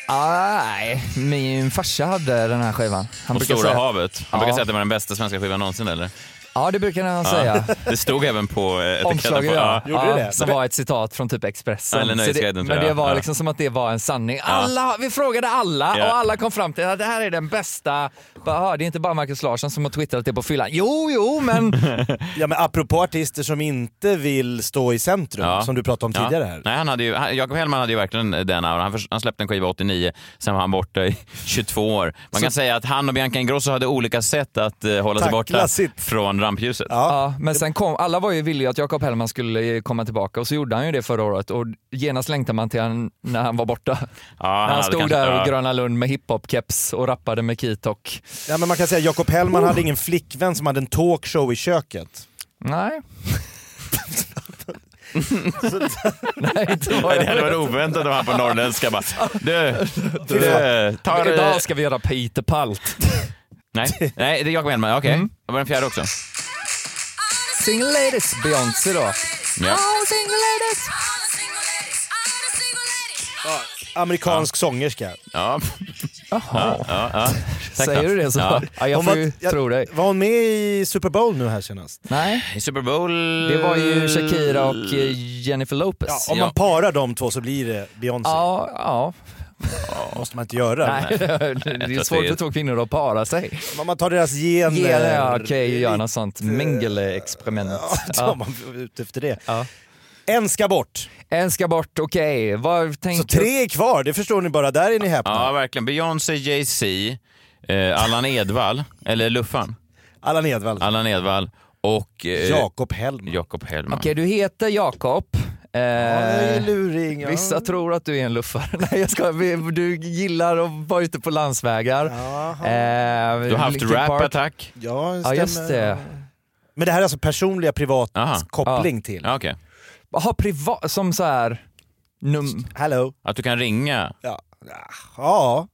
Speaker 4: Nej, min farsa hade den här skivan. Han
Speaker 2: Och Stora
Speaker 4: säga,
Speaker 2: havet. Han
Speaker 4: Ja.
Speaker 2: brukar säga att det var den bästa svenska skivan någonsin, eller?
Speaker 4: Ja, det brukar han
Speaker 2: Ja.
Speaker 4: säga.
Speaker 2: Det stod även på eh, etiketten.
Speaker 4: Omslaget
Speaker 2: på-
Speaker 4: ja.
Speaker 2: ja.
Speaker 4: ja,
Speaker 5: det?
Speaker 4: Som var ett citat från typ Expressen.
Speaker 2: Eller
Speaker 4: Så
Speaker 2: Nöjesguiden,
Speaker 4: det,
Speaker 2: tror
Speaker 4: men det
Speaker 2: jag.
Speaker 4: var
Speaker 2: Ja.
Speaker 4: liksom som att det var en sanning. Alla, vi frågade alla
Speaker 2: Ja.
Speaker 4: och alla kom fram till att det här är den bästa. Bara, "Aha, det är inte bara Markus Larsson som har twittrat det på fyllan. Jo, jo, men
Speaker 5: Ja men apropå artister som inte vill stå i centrum,
Speaker 2: Ja.
Speaker 5: som du pratade om
Speaker 2: Ja.
Speaker 5: tidigare här.
Speaker 2: Nej, han hade ju, han, Jakob Hellman hade ju verkligen den auran. Han, förs- han släppte en skiva 89, sen var han borta i 22 år. Man kan säga att han och Bianca Ingrosso hade olika sätt att eh, hålla sig
Speaker 5: Tackla
Speaker 2: borta
Speaker 5: sitt-
Speaker 2: från rampljuset.
Speaker 4: Ja, men sen kom, alla var ju villiga att Jakob Hellman skulle komma tillbaka och så gjorde han ju det förra året och genast längtade man till han när han var borta.
Speaker 2: han
Speaker 4: när han
Speaker 2: hade
Speaker 4: stod
Speaker 2: kanske-
Speaker 4: där
Speaker 2: ja.
Speaker 4: i Gröna Lund med hiphop-keps och rappade med Keytok.
Speaker 5: Ja, men man kan säga att Jakob Hellman
Speaker 4: Oh.
Speaker 5: hade ingen flickvän som hade en talkshow i köket.
Speaker 4: Nej.
Speaker 2: Nej, det hade varit oväntat om han på norrländska bara du, du, tar... eh,
Speaker 4: Idag ska vi göra Peter Palt.
Speaker 2: Nej, nej, det är Jakob Hellman, okej.
Speaker 4: Mm.
Speaker 2: Det var den fjärde också.
Speaker 4: Sing ladies, Beyoncé då.
Speaker 2: Ja.
Speaker 4: single ladies.
Speaker 5: Amerikansk sångerska.
Speaker 2: Ja.
Speaker 5: Jaha.
Speaker 2: Ja, ja. Tack
Speaker 4: Säger
Speaker 2: då.
Speaker 4: du det så?
Speaker 2: Ja.
Speaker 4: Ja, jag
Speaker 5: Hon
Speaker 4: får
Speaker 5: var-
Speaker 4: ju
Speaker 5: jag-
Speaker 4: tro dig.
Speaker 5: Var hon med i Super Bowl nu här senast?
Speaker 4: Nej.
Speaker 2: I Super Bowl...
Speaker 4: Det var ju Shakira och eh, Jennifer Lopez.
Speaker 5: Ja, om man parar de två så blir det Beyoncé.
Speaker 4: Ja, ja.
Speaker 5: måste man inte göra.
Speaker 4: Nej, det är svårt för två kvinnor att para sig.
Speaker 5: Om man tar deras gener.
Speaker 4: Gener, ja, okej, gör något sånt mingle-experiment.
Speaker 5: då är man ute efter det.
Speaker 4: Ja.
Speaker 5: En ska bort.
Speaker 4: En ska bort, okej. Vad
Speaker 5: Så
Speaker 4: tänker
Speaker 5: tre är kvar, det förstår ni bara. Där är ni häpna.
Speaker 2: Ja, verkligen. Beyoncé, Jay-Z, eh, Allan Edwall, eller Luffan.
Speaker 5: Allan Edwall.
Speaker 2: Allan Edwall och... Eh,
Speaker 5: Jakob Hellman.
Speaker 2: Jakob Hellman.
Speaker 4: Okej, du heter Jakob. Eh,
Speaker 5: luring, ja.
Speaker 4: Vissa tror att du är en luffare. Nej, jag ska, du gillar att vara ute på landsvägar. Eh,
Speaker 2: Du har haft
Speaker 4: Linkin Park.
Speaker 2: rap-attack.
Speaker 5: Ja,
Speaker 4: Ja, just det.
Speaker 5: Men det här är alltså personliga privat
Speaker 2: Aha.
Speaker 5: koppling
Speaker 4: Ja.
Speaker 5: till?
Speaker 2: Ja, okej.
Speaker 4: Jaha, privat, som så här... Num-
Speaker 5: Hello.
Speaker 2: Att du kan ringa.
Speaker 5: Ja. Ja.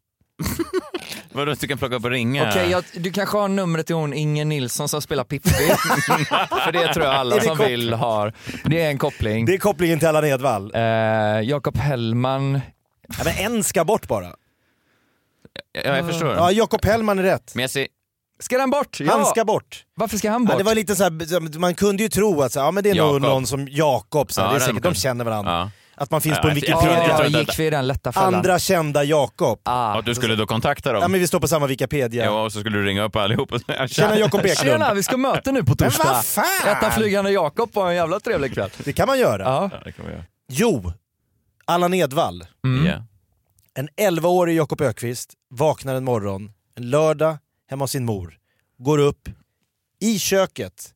Speaker 2: Vadå, att du kan plocka upp och ringa?
Speaker 4: Okej, jag, du kanske har numret till hon Inger Nilsson som spelar Pippi. För det tror jag
Speaker 5: Är
Speaker 4: alla
Speaker 5: det
Speaker 4: som
Speaker 5: kop-
Speaker 4: vill har. Det är en koppling.
Speaker 5: Det är kopplingen till Allan Edwall.
Speaker 4: Eh, Jakob Hellman.
Speaker 5: Ja, men en ska bort bara.
Speaker 2: Ja, jag förstår.
Speaker 5: Ja, Jakob Hellman är rätt.
Speaker 2: Men jag ser...
Speaker 4: Ska den bort?
Speaker 5: Han ska bort.
Speaker 4: Varför ska han bort?
Speaker 5: Ja, det var lite så här, man kunde ju tro att så, här, ja, men det är nog
Speaker 2: Jakob.
Speaker 5: någon som Jakob, så här,
Speaker 2: Ja,
Speaker 5: det
Speaker 2: det
Speaker 5: är säkert,
Speaker 2: hade
Speaker 5: de känner varandra.
Speaker 2: Ja.
Speaker 5: Att man finns
Speaker 2: Ja,
Speaker 5: på en
Speaker 2: jag- jag tror- jag
Speaker 5: Wikipedia.
Speaker 2: tror
Speaker 4: Ja,
Speaker 2: att-
Speaker 4: gick vi i den lätta fällan?
Speaker 5: Andra kända Jakob.
Speaker 4: Ah.
Speaker 2: Att du skulle då kontakta dem?
Speaker 5: Ja, men vi står på samma Wikipedia.
Speaker 2: Ja, och så skulle du ringa upp allihop och säga
Speaker 5: Tjena Jakob Eklund.
Speaker 4: Tjena, vi ska möta nu på torsdag.
Speaker 5: Men vad fan!
Speaker 4: Rätta flygande Jakob var en jävla trevlig kväll.
Speaker 5: Det kan man göra.
Speaker 4: Ja.
Speaker 2: Ja, det kan vi göra.
Speaker 5: Jo, Allan Edwall.
Speaker 2: Ja.
Speaker 5: En 11-årig Jakob Ökvist vaknar en morgon, en lördag, hemma hos sin mor. Går upp, i köket,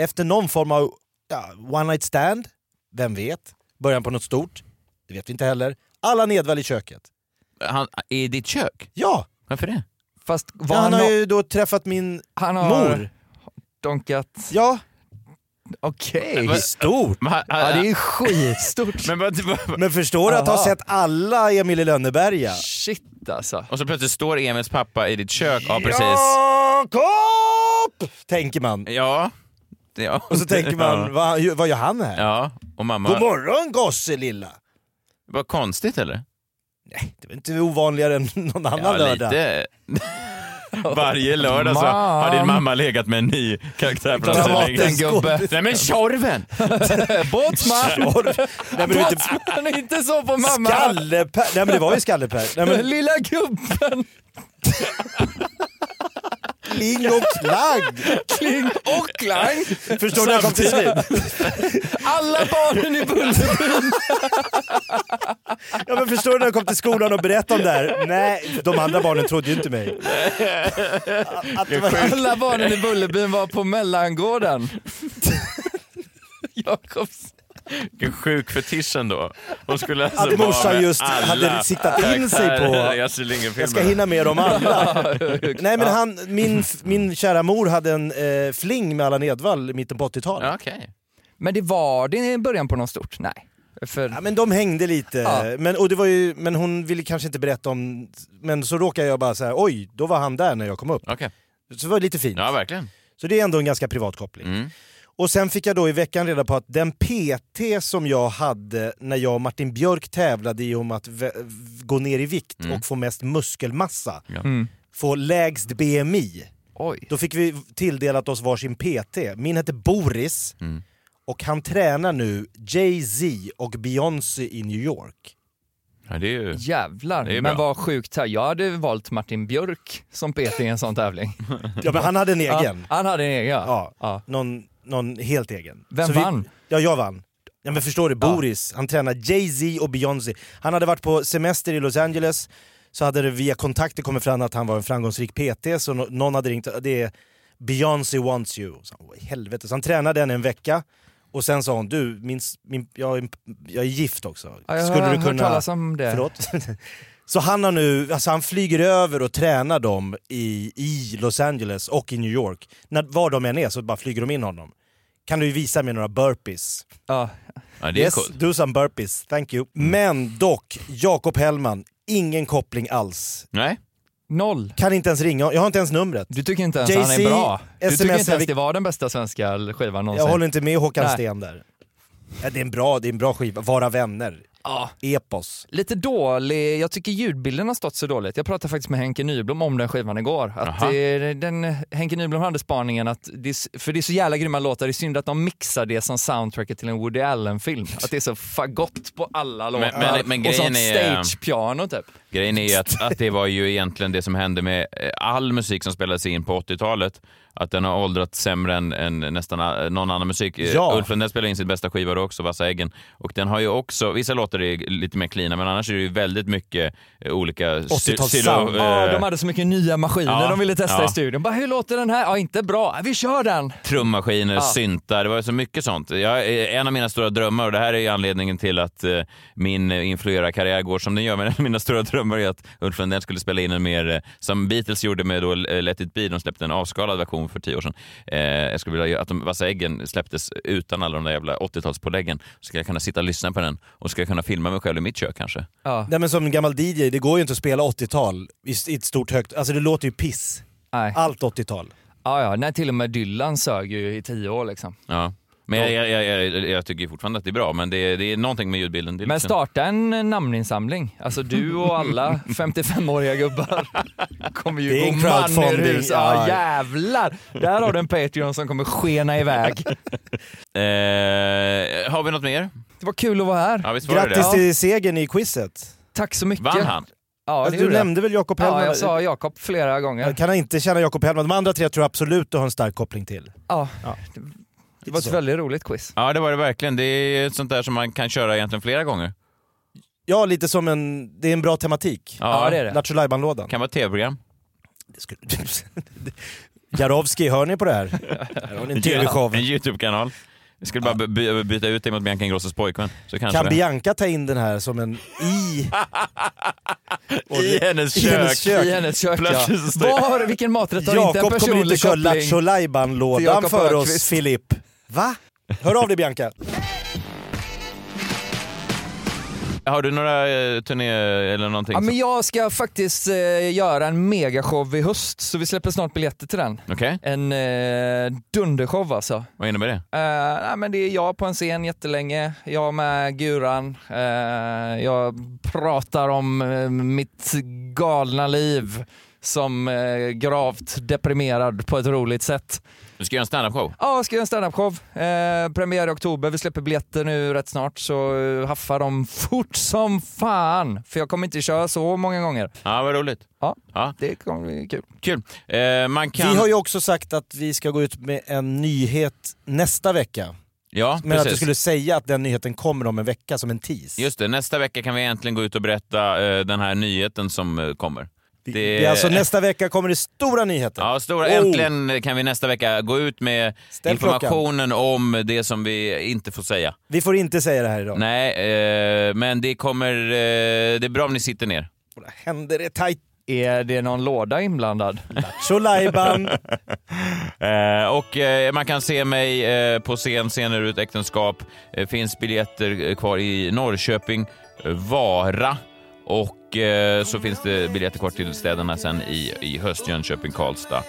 Speaker 5: efter någon form av ja, one night stand, vem vet? Början på något stort, det vet vi inte heller. Allan Edwall i köket.
Speaker 2: Han, I ditt kök?
Speaker 5: Ja,
Speaker 2: Varför det?
Speaker 4: Fast
Speaker 5: ja
Speaker 4: var han,
Speaker 5: han har
Speaker 4: no-
Speaker 5: ju då träffat min
Speaker 4: han har
Speaker 5: mor.
Speaker 4: donkat...
Speaker 5: Ja,
Speaker 4: Okej.
Speaker 2: Men-
Speaker 5: stort.
Speaker 2: Men, han-
Speaker 4: Ja, det är ju skitstort.
Speaker 2: men, vad- vad-
Speaker 5: Men förstår du att ha
Speaker 4: Aha.
Speaker 5: sett alla Emil i Lönneberga?
Speaker 4: Shit alltså.
Speaker 2: och så plötsligt står Emils pappa i ditt kök. Ja, precis.
Speaker 5: Jakob! Tänker man.
Speaker 2: Ja. ja.
Speaker 5: Och så tänker man,
Speaker 2: Ja.
Speaker 5: vad, vad gör han här?
Speaker 2: Ja, och mamma.
Speaker 5: God morgon gosse lilla!
Speaker 2: Vad konstigt eller?
Speaker 5: Det var inte ovanligare än någon annan
Speaker 2: Ja,
Speaker 5: lördag.
Speaker 2: lite. Varje lördag så har din
Speaker 4: Mam.
Speaker 2: mamma legat med en ny karaktär på
Speaker 4: Dramaten gubbe.
Speaker 2: Nej men Tjorven!
Speaker 4: Båtsman!
Speaker 5: Korv. Nej, men det var inte...
Speaker 4: Båtsman är inte så på mamma.
Speaker 5: Skalleper! Nej men det var ju Skalleper. Nej men
Speaker 4: Lilla gubben.
Speaker 5: kling och klagg!
Speaker 4: Kling och klang.
Speaker 5: Förstår du när jag kom till slut?
Speaker 4: Alla barnen i Bullerbyn.
Speaker 5: Ja men förstår du när jag kom till skolan och berättade om det här? Nej, de andra barnen trodde ju inte mig. Att det var...
Speaker 4: Alla barnen i Bullerbyn var på mellangården. Jakobs.
Speaker 2: Vilken sjuk fetisch ändå. Hon skulle alltså
Speaker 5: Hade
Speaker 2: vara
Speaker 5: morsan
Speaker 2: med
Speaker 5: just-
Speaker 2: alla
Speaker 5: hade siktat in sig på-
Speaker 2: karaktärer i Astrid Lindgren-filmerna.
Speaker 5: Jag ska hinna med dem alla. Nej men han, min, min kära mor hade en eh, fling med Allan Edwall i mitten på 80-talet.
Speaker 2: Ja, Okej.
Speaker 4: Men det var det i början på något stort? Nej. För...
Speaker 5: Ja, men de hängde lite.
Speaker 4: Ja.
Speaker 5: Men, och det var ju, men hon ville kanske inte berätta om... Men så råkade jag bara säga, oj, då var han där när jag kom upp.
Speaker 2: Okej.
Speaker 5: Så det var lite fint.
Speaker 2: Ja, verkligen.
Speaker 5: Så det är ändå en ganska privat koppling.
Speaker 2: Mm.
Speaker 5: Och sen fick jag då i veckan reda på att den PT som jag hade när jag och Martin Björk tävlade i om att vä- v- gå ner i vikt och få mest muskelmassa,
Speaker 4: Mm.
Speaker 5: få lägst BMI.
Speaker 4: Oj.
Speaker 5: Då fick vi tilldelat oss varsin PT. Min hette Boris och han tränar nu Jay-Z och Beyoncé i New York.
Speaker 2: Ja, det är ju... Det är
Speaker 4: Jävlar,
Speaker 2: ju
Speaker 4: men
Speaker 2: bra.
Speaker 4: vad sjukt. här. Jag hade valt Martin Björk som PT i en sån tävling.
Speaker 5: Ja men han hade en
Speaker 4: Ja,
Speaker 5: egen.
Speaker 4: han hade en egen,
Speaker 5: Ja.
Speaker 4: ja. ja.
Speaker 5: Någon, någon helt egen.
Speaker 4: Vem
Speaker 5: vi-
Speaker 4: vann?
Speaker 5: Ja jag vann. Ja men förstår du, Boris, han tränar Jay-Z och Beyoncé. Han hade varit på semester i Los Angeles, så hade det via kontakter kommit fram att han var en framgångsrik PT, så nå- någon hade ringt. Det är Beyoncé wants you. Så han, "Åh, i helvete. Så han tränade den en vecka och sen sa hon, du, min, s- min, jag, är en- jag är gift också.
Speaker 4: Ja, jag har hört talas om det.
Speaker 5: Förlåt? Så han har nu, alltså han flyger över och tränar dem i, i Los Angeles och i New York. När, var de än är så bara flyger de in honom. Kan du ju visa mig några burpees?
Speaker 4: Ja.
Speaker 2: Ja, det är
Speaker 5: yes,
Speaker 2: coolt. Mm.
Speaker 5: do some burpees, thank you. Men dock, Jakob Hellman, ingen koppling alls.
Speaker 2: Nej.
Speaker 4: Noll.
Speaker 5: Kan inte ens ringa, jag har inte ens numret.
Speaker 4: Du tycker inte ens han är bra. Du tycker inte ens det var den bästa svenska skivan någonsin.
Speaker 5: Jag håller inte med Håkan
Speaker 4: Nej.
Speaker 5: Sten där. Ja, det, är en bra, det är en bra skiva, Vara vänner. Epos.
Speaker 4: Lite dålig, jag tycker ljudbilden har stått så dåligt. Jag pratade faktiskt med Henke Nyblom om den skivan igår. Att
Speaker 2: Jaha.
Speaker 4: det, den, Henke Nyblom hade spaningen att, det, är s- för det är så jävla grymma låtar, det är synd att de mixar det som soundtracket till en Woody Allen-film. Att det är så fagott på alla låtar.
Speaker 2: men- men
Speaker 4: och
Speaker 2: grejen
Speaker 4: sånt
Speaker 2: är- eh,
Speaker 4: stage-piano typ.
Speaker 2: Grejen är ju att, att det var ju egentligen det som hände med eh, all musik som spelades in på 80-talet. Att den har åldrats sämre än, än nästan a- någon annan musik. Eh,
Speaker 5: Ja.
Speaker 2: Ulf Lundell spelade in sitt bästa skiva då också, Vassa äggen. Och den har ju också, vissa låtar är lite mer cleana men annars är det ju väldigt mycket eh, olika... sy-
Speaker 4: 80-talssound.
Speaker 2: sylo-
Speaker 4: Ja,
Speaker 2: eh,
Speaker 4: de hade så mycket nya maskiner
Speaker 2: Ja,
Speaker 4: de ville testa
Speaker 2: ja.
Speaker 4: i studion. Bara, hur låter den här? Ja, inte bra. Ja, Vi kör den!
Speaker 2: trummaskiner,
Speaker 4: Ja.
Speaker 2: syntar, det var så mycket sånt. Jag, eh, en av mina stora drömmar, och det här är ju anledningen till att eh, min eh, influera-karriär går som den gör, men en av mina stora drömmar är att Ulf Lundell skulle spela in en mer, eh, som Beatles gjorde med då eh, Let it be, de släppte en avskalad version för tio år sedan. Eh, jag skulle vilja att de Vassa äggen släpptes utan alla de där jävla 80-talspåläggen. Så ska jag kunna sitta och lyssna på den och ska jag kunna filma mig själv i mitt kök kanske.
Speaker 5: Nej, men som en gammal DJ, det går ju inte att spela 80-tal i, s- i ett stort högt... Alltså det låter ju piss. Allt 80-tal.
Speaker 4: Ja, ja, nej, till och med Dylan sög ju i tio år liksom.
Speaker 2: Ja. Men jag, jag, jag, jag, jag tycker fortfarande att det är bra, men det, är- det är någonting med ljudbilden. Det är
Speaker 4: Men
Speaker 2: liksom-
Speaker 4: starta en eh, namninsamling. Alltså du och alla 55-åriga gubbar kommer ju
Speaker 5: Det är en
Speaker 4: gå man ur
Speaker 5: crowdfunding,
Speaker 4: hus. Ja,
Speaker 5: ja.
Speaker 4: jävlar! Där har du en Patreon som kommer skena iväg.
Speaker 2: Eh, har vi något mer?
Speaker 4: Det var kul att vara här.
Speaker 2: Ja, visst var det
Speaker 5: Grattis
Speaker 2: det?
Speaker 5: till segern i quizet.
Speaker 4: Tack så mycket.
Speaker 2: Vann han?
Speaker 4: Ja, det
Speaker 5: Alltså, du
Speaker 4: gjorde jag.
Speaker 5: nämnde väl Jakob Hellman?
Speaker 4: Ja, jag sa Jakob flera gånger.
Speaker 5: Kan han inte känna Jakob Hellman? De andra tre tror jag absolut du har en stark koppling till.
Speaker 4: Ja. Det var ett
Speaker 5: Så.
Speaker 4: väldigt roligt quiz.
Speaker 2: Ja, det var det verkligen. Det är ett sånt där som man kan köra egentligen flera gånger.
Speaker 5: Ja, lite som en... Det är en bra tematik.
Speaker 2: Ja, Ja, det är det.
Speaker 5: Lattjo Lajban-lådan.
Speaker 2: kan vara ett tv-program.
Speaker 5: Jarovski, hör ni på det här? här har ni en tv-show.
Speaker 2: En YouTube-kanal. Vi skulle bara by- by- byta ut dig mot Bianca Ingrossos pojkvän. Så kanske
Speaker 5: Kan
Speaker 2: det.
Speaker 5: Bianca ta in den här som en i...
Speaker 2: I hennes kök.
Speaker 4: I hennes kök
Speaker 2: Plötsligt så står-
Speaker 4: ja. Var, vilken maträtt har inte en
Speaker 5: Jakob kommer inte
Speaker 4: personlig
Speaker 5: köra
Speaker 4: koppling?
Speaker 5: Lattjo
Speaker 4: till
Speaker 5: Lajban-lådan
Speaker 4: Jakob
Speaker 5: för
Speaker 4: Öqvist?
Speaker 5: oss, Filip. Va? Hör av dig Bianca.
Speaker 2: Har du några eh, turné eller någonting?
Speaker 4: Ja,
Speaker 2: som-
Speaker 5: liksom.
Speaker 4: men jag ska faktiskt eh, göra en megashow i höst, så vi släpper snart biljetter till den.
Speaker 2: Okej.
Speaker 4: En eh, dundershow alltså.
Speaker 2: Vad innebär det?
Speaker 4: Eh, nej, men det är jag på en scen jättelänge, jag med Guran. Eh, jag pratar om eh, mitt galna liv som eh, gravt deprimerad på ett roligt sätt.
Speaker 2: Du ska göra en standup-show?
Speaker 4: Ja, jag ska göra en standup-show. Eh, premiär i oktober. Vi släpper biljetter nu rätt snart, så eh, haffa dem fort som fan. För jag kommer inte köra så många gånger.
Speaker 2: Ja, vad roligt.
Speaker 4: Ja,
Speaker 2: det
Speaker 4: kommer bli kul.
Speaker 2: Kul. Eh, man kan...
Speaker 5: Vi har ju också sagt att vi ska gå ut med en nyhet nästa vecka.
Speaker 2: Ja,
Speaker 5: Men att du
Speaker 2: precis.
Speaker 5: skulle säga att den nyheten kommer om en vecka som en tease.
Speaker 2: Just det, nästa vecka kan vi äntligen gå ut och berätta eh, den här nyheten som eh, kommer.
Speaker 5: Det är alltså nästa vecka kommer det stora nyheter.
Speaker 2: Ja, stora,
Speaker 5: Oh.
Speaker 2: äntligen kan vi nästa vecka gå ut med
Speaker 5: Ställ klockan.
Speaker 2: informationen om det som vi inte får säga.
Speaker 5: Vi får inte säga det här idag.
Speaker 2: Nej, eh, men det kommer... Eh, det är bra om ni sitter ner.
Speaker 5: Händer det tajt?
Speaker 4: Är det någon låda inblandad?
Speaker 5: Så lajban.
Speaker 2: Eh, och eh, man kan se mig eh, på scen senare ut äktenskap. Eh, finns biljetter eh, kvar i Norrköping, eh, Vara och eh, så finns det biljetter kvar till städerna sen i, i höst, Jönköping, Karlstad,